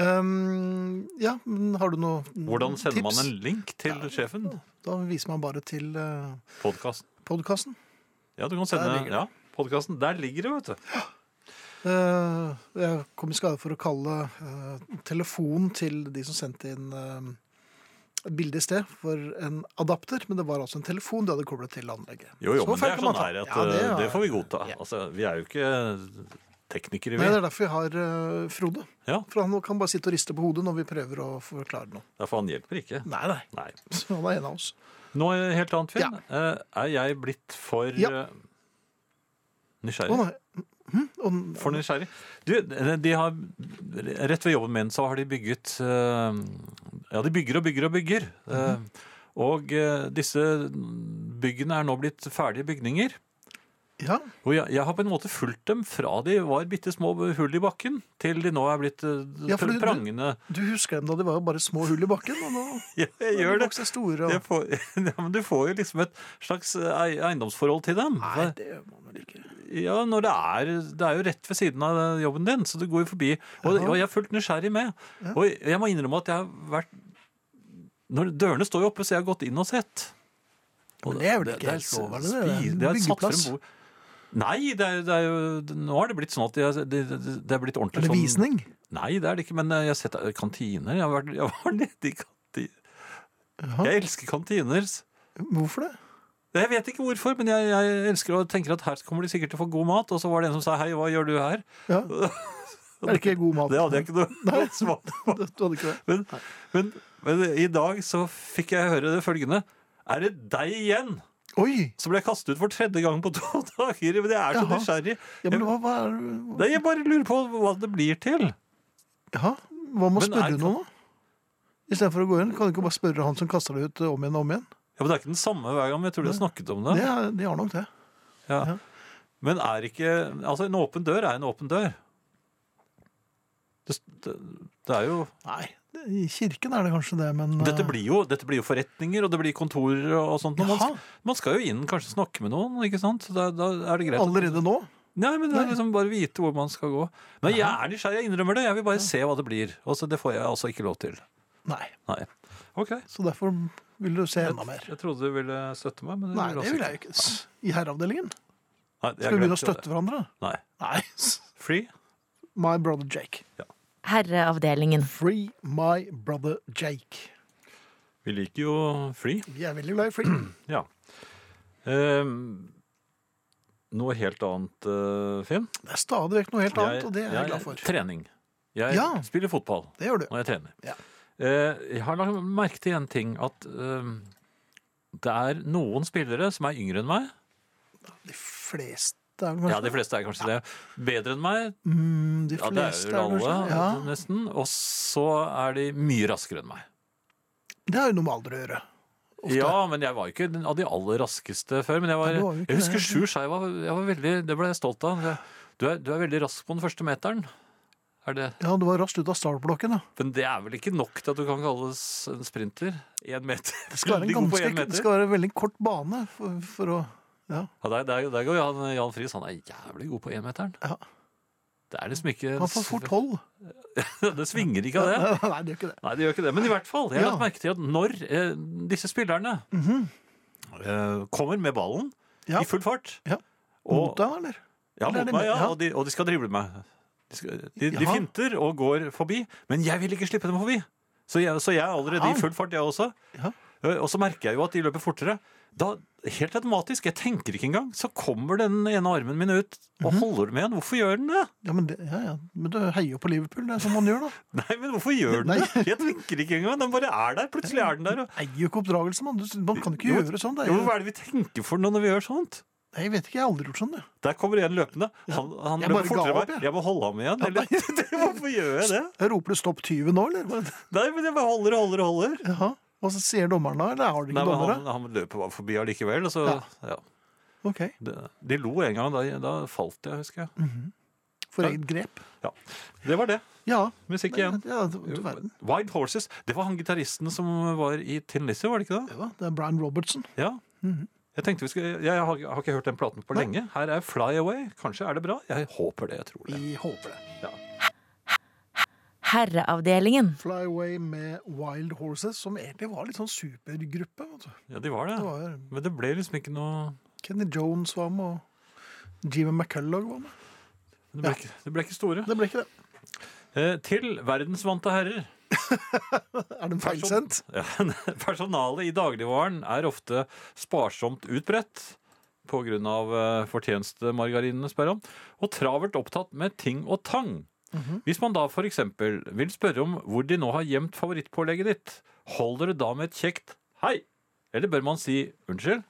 [SPEAKER 1] Um, ja, men har du noe Mm, tips?
[SPEAKER 2] Hvordan sender man en link til sjefen?
[SPEAKER 1] Da viser man bare til uh,
[SPEAKER 2] Podkasten.
[SPEAKER 1] podkasten.
[SPEAKER 2] Ja, du kan sende
[SPEAKER 1] ligger det.
[SPEAKER 2] ja, podkasten. Der ligger det, vet du.
[SPEAKER 1] Eh, jeg kom i skade for å kalle eh, telefonen til de som sendte inn eh, et bilde i sted, for en adapter. Men det var altså en telefon de hadde koblet til anlegget.
[SPEAKER 2] Jo, jo,
[SPEAKER 1] Så
[SPEAKER 2] men det
[SPEAKER 1] feil
[SPEAKER 2] er
[SPEAKER 1] kan man
[SPEAKER 2] sånn
[SPEAKER 1] ta.
[SPEAKER 2] her at
[SPEAKER 1] Ja,
[SPEAKER 2] eh,
[SPEAKER 1] er-
[SPEAKER 2] det får vi godta. Altså, vi er jo ikke teknikere,
[SPEAKER 1] Nei, det
[SPEAKER 2] vi.
[SPEAKER 1] er derfor vi har eh, Frode.
[SPEAKER 2] Ja.
[SPEAKER 1] For han kan bare sitte og riste på hodet når vi prøver å forklare noe.
[SPEAKER 2] Derfor han hjelper ikke.
[SPEAKER 1] Nei, nei.
[SPEAKER 2] Nei.
[SPEAKER 1] [laughs] Så han er en av oss.
[SPEAKER 2] Noe helt annet, Finn. Eh, Er jeg blitt for
[SPEAKER 1] Ja.
[SPEAKER 2] eh,
[SPEAKER 1] Å,
[SPEAKER 2] nysgjerrig?
[SPEAKER 1] nei. Hm? Å,
[SPEAKER 2] For nysgjerrig. Du, eh, de har, rett ved jobben min så har de bygget eh, Ja, de bygger og bygger og bygger.
[SPEAKER 1] Mhm.
[SPEAKER 2] Eh, Og eh, disse byggene er nå blitt ferdige bygninger.
[SPEAKER 1] ja.
[SPEAKER 2] Og jeg, jeg har på en måte fulgt dem fra de var bitte små hull i bakken, til de nå er blitt eh,
[SPEAKER 1] Ja, for du- du-
[SPEAKER 2] prangende [laughs]
[SPEAKER 1] Du husker dem da de var jo bare små hull i bakken, og nå
[SPEAKER 2] Jeg, jeg
[SPEAKER 1] nå
[SPEAKER 2] [laughs] gjør det.
[SPEAKER 1] vokser de store.
[SPEAKER 2] Jeg
[SPEAKER 1] Og...
[SPEAKER 2] får, [laughs] ja, men du får jo liksom et slags ei- eiendomsforhold til dem.
[SPEAKER 1] Nei, det gjør man vel ikke.
[SPEAKER 2] Ja, når det er Det er jo rett ved siden av jobben din, så du går jo forbi. Og, og jeg er fullt nysgjerrig med. Og jeg må innrømme at jeg har vært Når Dørene står jo oppe, så jeg har gått inn og sett. Og
[SPEAKER 1] Men det er vel ikke
[SPEAKER 2] er
[SPEAKER 1] helt
[SPEAKER 2] så
[SPEAKER 1] lovende, det er
[SPEAKER 2] spi-
[SPEAKER 1] en
[SPEAKER 2] de har satt
[SPEAKER 1] byggeplass.
[SPEAKER 2] frem bord. Nei, det er, jo- det er jo, nå har det blitt sånn at de har- det det- det er blitt ordentlig
[SPEAKER 1] Er det
[SPEAKER 2] sånn-
[SPEAKER 1] visning?
[SPEAKER 2] Nei, det er det ikke, men jeg har sett eh, kantiner. Jeg, har vært, jeg var [laughs] nede i kantiner. Jeg elsker kantiner.
[SPEAKER 1] Hvorfor det?
[SPEAKER 2] Jeg vet ikke hvorfor, men jeg, jeg elsker og tenker at her kommer de sikkert til å få god mat. Og så var det en som sa hei, hva gjør du her?
[SPEAKER 1] Ja. [laughs] Er det ikke god mat?
[SPEAKER 2] Det hadde jeg ikke noe godt svar på.
[SPEAKER 1] Du hadde ikke det?
[SPEAKER 2] Men, men, men i dag så fikk jeg høre det følgende. Er det deg igjen
[SPEAKER 1] Oi!
[SPEAKER 2] som ble kastet ut for tredje gang på to [laughs] dager? Men jeg er så
[SPEAKER 1] Jaha.
[SPEAKER 2] nysgjerrig.
[SPEAKER 1] Ja, men hva, hva er
[SPEAKER 2] Nei, Jeg bare lurer på hva det blir til.
[SPEAKER 1] ja, Hva med å
[SPEAKER 2] Men er-
[SPEAKER 1] spørre noen, da? Istedenfor å gå inn, kan du ikke bare spørre han som kaster det ut eh, om igjen og om igjen?
[SPEAKER 2] Ja, men Det er ikke den samme hver gang, men jeg tror de har snakket om det.
[SPEAKER 1] Det er, de har nok det.
[SPEAKER 2] Ja. Men er ikke Altså, en åpen dør er en åpen dør. Det, det, det er jo
[SPEAKER 1] Nei, det- I kirken er det kanskje det, men eh,
[SPEAKER 2] Dette blir, jo, dette blir jo forretninger, og det blir kontorer og sånt. og Man,
[SPEAKER 1] Jaha.
[SPEAKER 2] sk- man skal jo inn, kanskje snakke med noen, ikke sant? Da, da er det greit. å-
[SPEAKER 1] allerede nå.
[SPEAKER 2] Nei, men det er liksom bare vite hvor man skal gå. Men jeg er nysgjerrig, jeg innrømmer det. Jeg vil bare se hva det blir. Altså, det får jeg altså ikke lov til.
[SPEAKER 1] Nei.
[SPEAKER 2] Nei. Ok.
[SPEAKER 1] Så derfor vil du se
[SPEAKER 2] Jeg,
[SPEAKER 1] enda mer.
[SPEAKER 2] jeg trodde du ville støtte meg, men det
[SPEAKER 1] Nei, det
[SPEAKER 2] du altså
[SPEAKER 1] vil jeg jo ikke. S- I herreavdelingen.
[SPEAKER 2] Nei, jeg
[SPEAKER 1] Skal vi begynne å
[SPEAKER 2] glemte det.
[SPEAKER 1] støtte hverandre?
[SPEAKER 2] Nei.
[SPEAKER 1] Nei. [laughs] s-
[SPEAKER 2] Free?
[SPEAKER 1] My brother Jake.
[SPEAKER 7] Herreavdelingen.
[SPEAKER 1] Free my brother Jake.
[SPEAKER 2] Vi liker jo free.
[SPEAKER 1] Vi er veldig glad i free.
[SPEAKER 2] Ja. Ehm, noe helt annet, eh, Finn.
[SPEAKER 1] Det er stadig vekk noe helt annet, og det er jeg glad for.
[SPEAKER 2] Trening. Jeg
[SPEAKER 1] Ja.
[SPEAKER 2] spiller fotball
[SPEAKER 1] Det gjør du.
[SPEAKER 2] når jeg trener.
[SPEAKER 1] Ja.
[SPEAKER 2] Eh, jeg har lagt merke til en ting, at ehm, det er noen spillere som er yngre enn meg.
[SPEAKER 1] De fleste er vel kanskje
[SPEAKER 2] Ja, de fleste er kanskje det. Bedre enn meg,
[SPEAKER 1] Mm, de
[SPEAKER 2] Ja, det er
[SPEAKER 1] fleste
[SPEAKER 2] jo
[SPEAKER 1] er
[SPEAKER 2] alle,
[SPEAKER 1] kanskje- ja.
[SPEAKER 2] nesten. Og så er de mye raskere enn meg.
[SPEAKER 1] Det har jo noe med alder å gjøre. Ofte.
[SPEAKER 2] Ja, men jeg var jo ikke den av de aller raskeste før. Men jeg, var,
[SPEAKER 1] Nei, du var jo ikke
[SPEAKER 2] jeg husker
[SPEAKER 1] det.
[SPEAKER 2] Sjur Skei var, jeg var veldig Det ble jeg stolt av. Du er, du er veldig rask på den første meteren. Er det?
[SPEAKER 1] Ja, du var raskt ut av startblokken, da.
[SPEAKER 2] Men det er vel ikke nok til at du kan kalles en sprinter? Én meter?
[SPEAKER 1] Det skal være en
[SPEAKER 2] Veldig god på
[SPEAKER 1] ganske,
[SPEAKER 2] en
[SPEAKER 1] det
[SPEAKER 2] meter.
[SPEAKER 1] skal være en veldig kort bane for, for å ja.
[SPEAKER 2] Ja, der, der, der går Jan, Jan Friis. Han er jævlig god på énmeteren.
[SPEAKER 1] Ja.
[SPEAKER 2] Det er liksom ikke
[SPEAKER 1] Han får
[SPEAKER 2] [laughs]
[SPEAKER 1] fort hold.
[SPEAKER 2] Det svinger ikke av
[SPEAKER 1] [laughs]
[SPEAKER 2] det.
[SPEAKER 1] Nei, det gjør ikke det.
[SPEAKER 2] Nei, det gjør ikke det. Men i hvert fall, jeg har
[SPEAKER 1] Ja. Mhm.
[SPEAKER 2] lagt merke til at når eh, disse spillerne eh, kommer med ballen
[SPEAKER 1] Ja.
[SPEAKER 2] i full fart
[SPEAKER 1] Ja.
[SPEAKER 2] og,
[SPEAKER 1] Mot deg, eller?
[SPEAKER 2] ja,
[SPEAKER 1] eller er
[SPEAKER 2] mot
[SPEAKER 1] det
[SPEAKER 2] meg,
[SPEAKER 1] med-
[SPEAKER 2] ja,
[SPEAKER 1] ja.
[SPEAKER 2] Og, de, og de skal drible meg. De, skal, de, de
[SPEAKER 1] Jaha.
[SPEAKER 2] finter og går forbi, men jeg vil ikke slippe dem forbi. Så jeg, så jeg er allerede
[SPEAKER 1] Ja.
[SPEAKER 2] i full fart, jeg også.
[SPEAKER 1] Ja.
[SPEAKER 2] Eh, Og så merker jeg jo at de løper fortere. Da, helt automatisk, jeg tenker ikke engang, så kommer den ene armen min ut
[SPEAKER 1] Mhm.
[SPEAKER 2] og holder med den. Hvorfor gjør den det?
[SPEAKER 1] Ja, men, det, ja, ja. men du heier jo på Liverpool, det er som man gjør, da.
[SPEAKER 2] Nei, men hvorfor gjør den
[SPEAKER 1] Nei.
[SPEAKER 2] det? Jeg tenker ikke engang. Den bare er der. Plutselig er den der. Og
[SPEAKER 1] Eier jo ikke oppdragelse, man. Du- Man kan ikke
[SPEAKER 2] Jo,
[SPEAKER 1] gjøre sånn. Det er
[SPEAKER 2] Jo, men
[SPEAKER 1] jo,
[SPEAKER 2] hva er det vi tenker for noe når vi gjør sånt?
[SPEAKER 1] Nei, jeg vet ikke, jeg har aldri gjort sånn, jeg.
[SPEAKER 2] Der kommer en løpende. Han, han
[SPEAKER 1] Jeg
[SPEAKER 2] løper
[SPEAKER 1] bare
[SPEAKER 2] fortere
[SPEAKER 1] ga
[SPEAKER 2] enn
[SPEAKER 1] opp,
[SPEAKER 2] meg.
[SPEAKER 1] jeg.
[SPEAKER 2] Jeg må holde ham igjen. Eller, [laughs] Det- hvorfor gjør jeg det?
[SPEAKER 1] Jeg roper du 'stopp 20' nå, eller?
[SPEAKER 2] Nei, men jeg bare holder og holder og holder.
[SPEAKER 1] Jaha. Og så sier dommeren da, eller har de
[SPEAKER 2] Nei,
[SPEAKER 1] ikke
[SPEAKER 2] men
[SPEAKER 1] dommere?
[SPEAKER 2] han, han løper bare forbi allikevel. Og så, ja.
[SPEAKER 1] Ok,
[SPEAKER 2] Det- De lo en gang, da, da falt jeg, husker
[SPEAKER 1] Mm.
[SPEAKER 2] jeg.
[SPEAKER 1] For
[SPEAKER 2] Ja.
[SPEAKER 1] eget grep.
[SPEAKER 2] Det var det.
[SPEAKER 1] Ja.
[SPEAKER 2] Musikk
[SPEAKER 1] ja,
[SPEAKER 2] igjen.
[SPEAKER 1] ja du, du verden.
[SPEAKER 2] Wild Horses. Det var han gitaristen som var i Tin Lizzie, var det ikke det?
[SPEAKER 1] Ja, det er Brian Robertson.
[SPEAKER 2] Ja.
[SPEAKER 1] Mhm.
[SPEAKER 2] Jeg tenkte vi skulle, jeg har, har ikke hørt den platen på lenge. Her er Fly Away. Kanskje er det bra? Jeg håper det. Jeg tror det.
[SPEAKER 1] Vi håper det.
[SPEAKER 7] Herreavdelingen.
[SPEAKER 1] Fly Away med Wild Horses, som egentlig var litt sånn supergruppe. Vet du.
[SPEAKER 2] Ja, de var det.
[SPEAKER 1] Det var jo
[SPEAKER 2] Men det ble liksom ikke noe
[SPEAKER 1] Kenny Jones var med, og Jimmy McCullough var med.
[SPEAKER 2] Det ble,
[SPEAKER 1] Ja.
[SPEAKER 2] ikke, det ble ikke store.
[SPEAKER 1] Det ble ikke det.
[SPEAKER 2] Eh, til verdensvante herrer. [laughs]
[SPEAKER 1] Er den feilsendt?
[SPEAKER 2] Ja, personalet i dagligvaren er ofte sparsomt utbredt pga. Eh, fortjenestemargarinene, spør han, og travelt opptatt med ting og tang.
[SPEAKER 1] Mhm.
[SPEAKER 2] Hvis man da f.eks. vil spørre om hvor de nå har gjemt favorittpålegget ditt, holder det da med et kjekt 'hei'? Eller bør man si 'unnskyld'?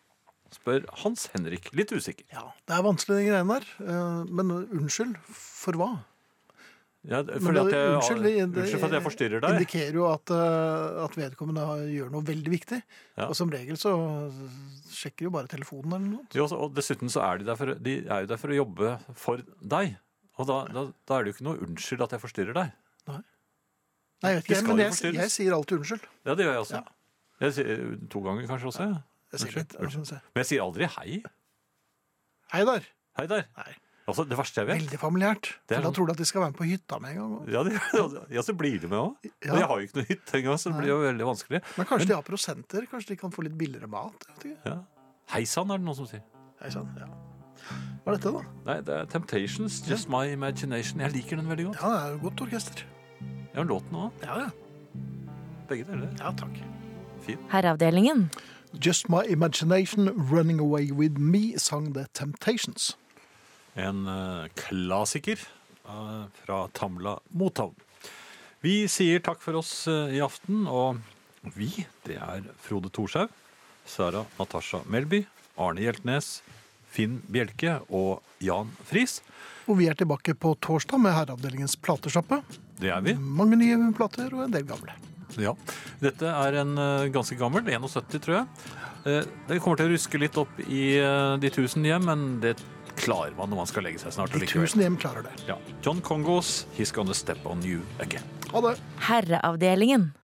[SPEAKER 2] spør Hans Henrik, litt usikker.
[SPEAKER 1] Ja, det er vanskelig, de greiene der. Eh, Men unnskyld, for hva?
[SPEAKER 2] Ja, fordi
[SPEAKER 1] Men
[SPEAKER 2] at
[SPEAKER 1] det-
[SPEAKER 2] jeg,
[SPEAKER 1] unnskyld, det- det-
[SPEAKER 2] unnskyld for at jeg forstyrrer deg.
[SPEAKER 1] indikerer jo at, eh, at vedkommende har- gjør noe veldig viktig.
[SPEAKER 2] Ja.
[SPEAKER 1] Og som regel så sjekker jo bare telefonen eller noe.
[SPEAKER 2] Jo, og dessuten så er de, der for, de er jo der for å jobbe for deg. Og da, da, da er det jo ikke noe unnskyld at jeg forstyrrer deg.
[SPEAKER 1] Nei, jeg vet
[SPEAKER 2] Det
[SPEAKER 1] ikke, jeg,
[SPEAKER 2] skal
[SPEAKER 1] men
[SPEAKER 2] jo
[SPEAKER 1] jeg,
[SPEAKER 2] forstyrres.
[SPEAKER 1] jeg sier alltid unnskyld.
[SPEAKER 2] Ja, det gjør jeg også. Jeg sier, eh, to ganger kanskje også. Ja.
[SPEAKER 1] Jeg sier
[SPEAKER 2] Unnskyld,
[SPEAKER 1] litt, altså, så-
[SPEAKER 2] Men jeg sier aldri hei.
[SPEAKER 1] Hei der!
[SPEAKER 2] Hei der.
[SPEAKER 1] Nei.
[SPEAKER 2] Altså, det verste jeg vet.
[SPEAKER 1] Veldig familiært.
[SPEAKER 2] Det er
[SPEAKER 1] For da
[SPEAKER 2] sånn-
[SPEAKER 1] tror du at de skal være med på hytta med en gang. og-
[SPEAKER 2] Ja, det, ja, så blir de med òg.
[SPEAKER 1] Ja.
[SPEAKER 2] Og jeg har jo ikke noe hytte engang, så det blir jo veldig vanskelig.
[SPEAKER 1] Men kanskje de har prosenter? Kanskje de kan få litt billigere mat? Jeg vet ikke.
[SPEAKER 2] Ja. Hei sann, er det noen som sier.
[SPEAKER 1] Hei sann. Ja. Hva er dette, da?
[SPEAKER 2] Nei, det er Temptations, Just My Imagination. Jeg liker den veldig godt.
[SPEAKER 1] Ja, det er jo godt orkester.
[SPEAKER 2] Jeg har låten òg.
[SPEAKER 1] Ja, ja.
[SPEAKER 2] Begge deler.
[SPEAKER 1] ja takk.
[SPEAKER 7] Herreavdelingen.
[SPEAKER 1] Just My Imagination Running Away With Me sang The Temptations.
[SPEAKER 2] En eh, klassiker eh, fra Tamla Motown. Vi sier takk for oss eh, i aften, og vi, det er Frode Thorshaug, Sara Natasha Melby, Arne Hjeltnes, Finn Bjelke og Jan Friis.
[SPEAKER 1] Og vi er tilbake på torsdag med Herreavdelingens platesjappe.
[SPEAKER 2] Det er vi.
[SPEAKER 1] Mange nye plater og en del gamle.
[SPEAKER 2] Ja. Dette er en eh, ganske gammel, 71 tror jeg. Eh, Det kommer til å ruske litt opp i eh, de tusen hjem, men det klarer man når man skal legge seg snart.
[SPEAKER 1] De
[SPEAKER 2] allikevel.
[SPEAKER 1] tusen hjem klarer det.
[SPEAKER 2] Ja. John Kongos 'He's Gonna Step On You Again'.
[SPEAKER 9] Ha det.
[SPEAKER 1] Herreavdelingen.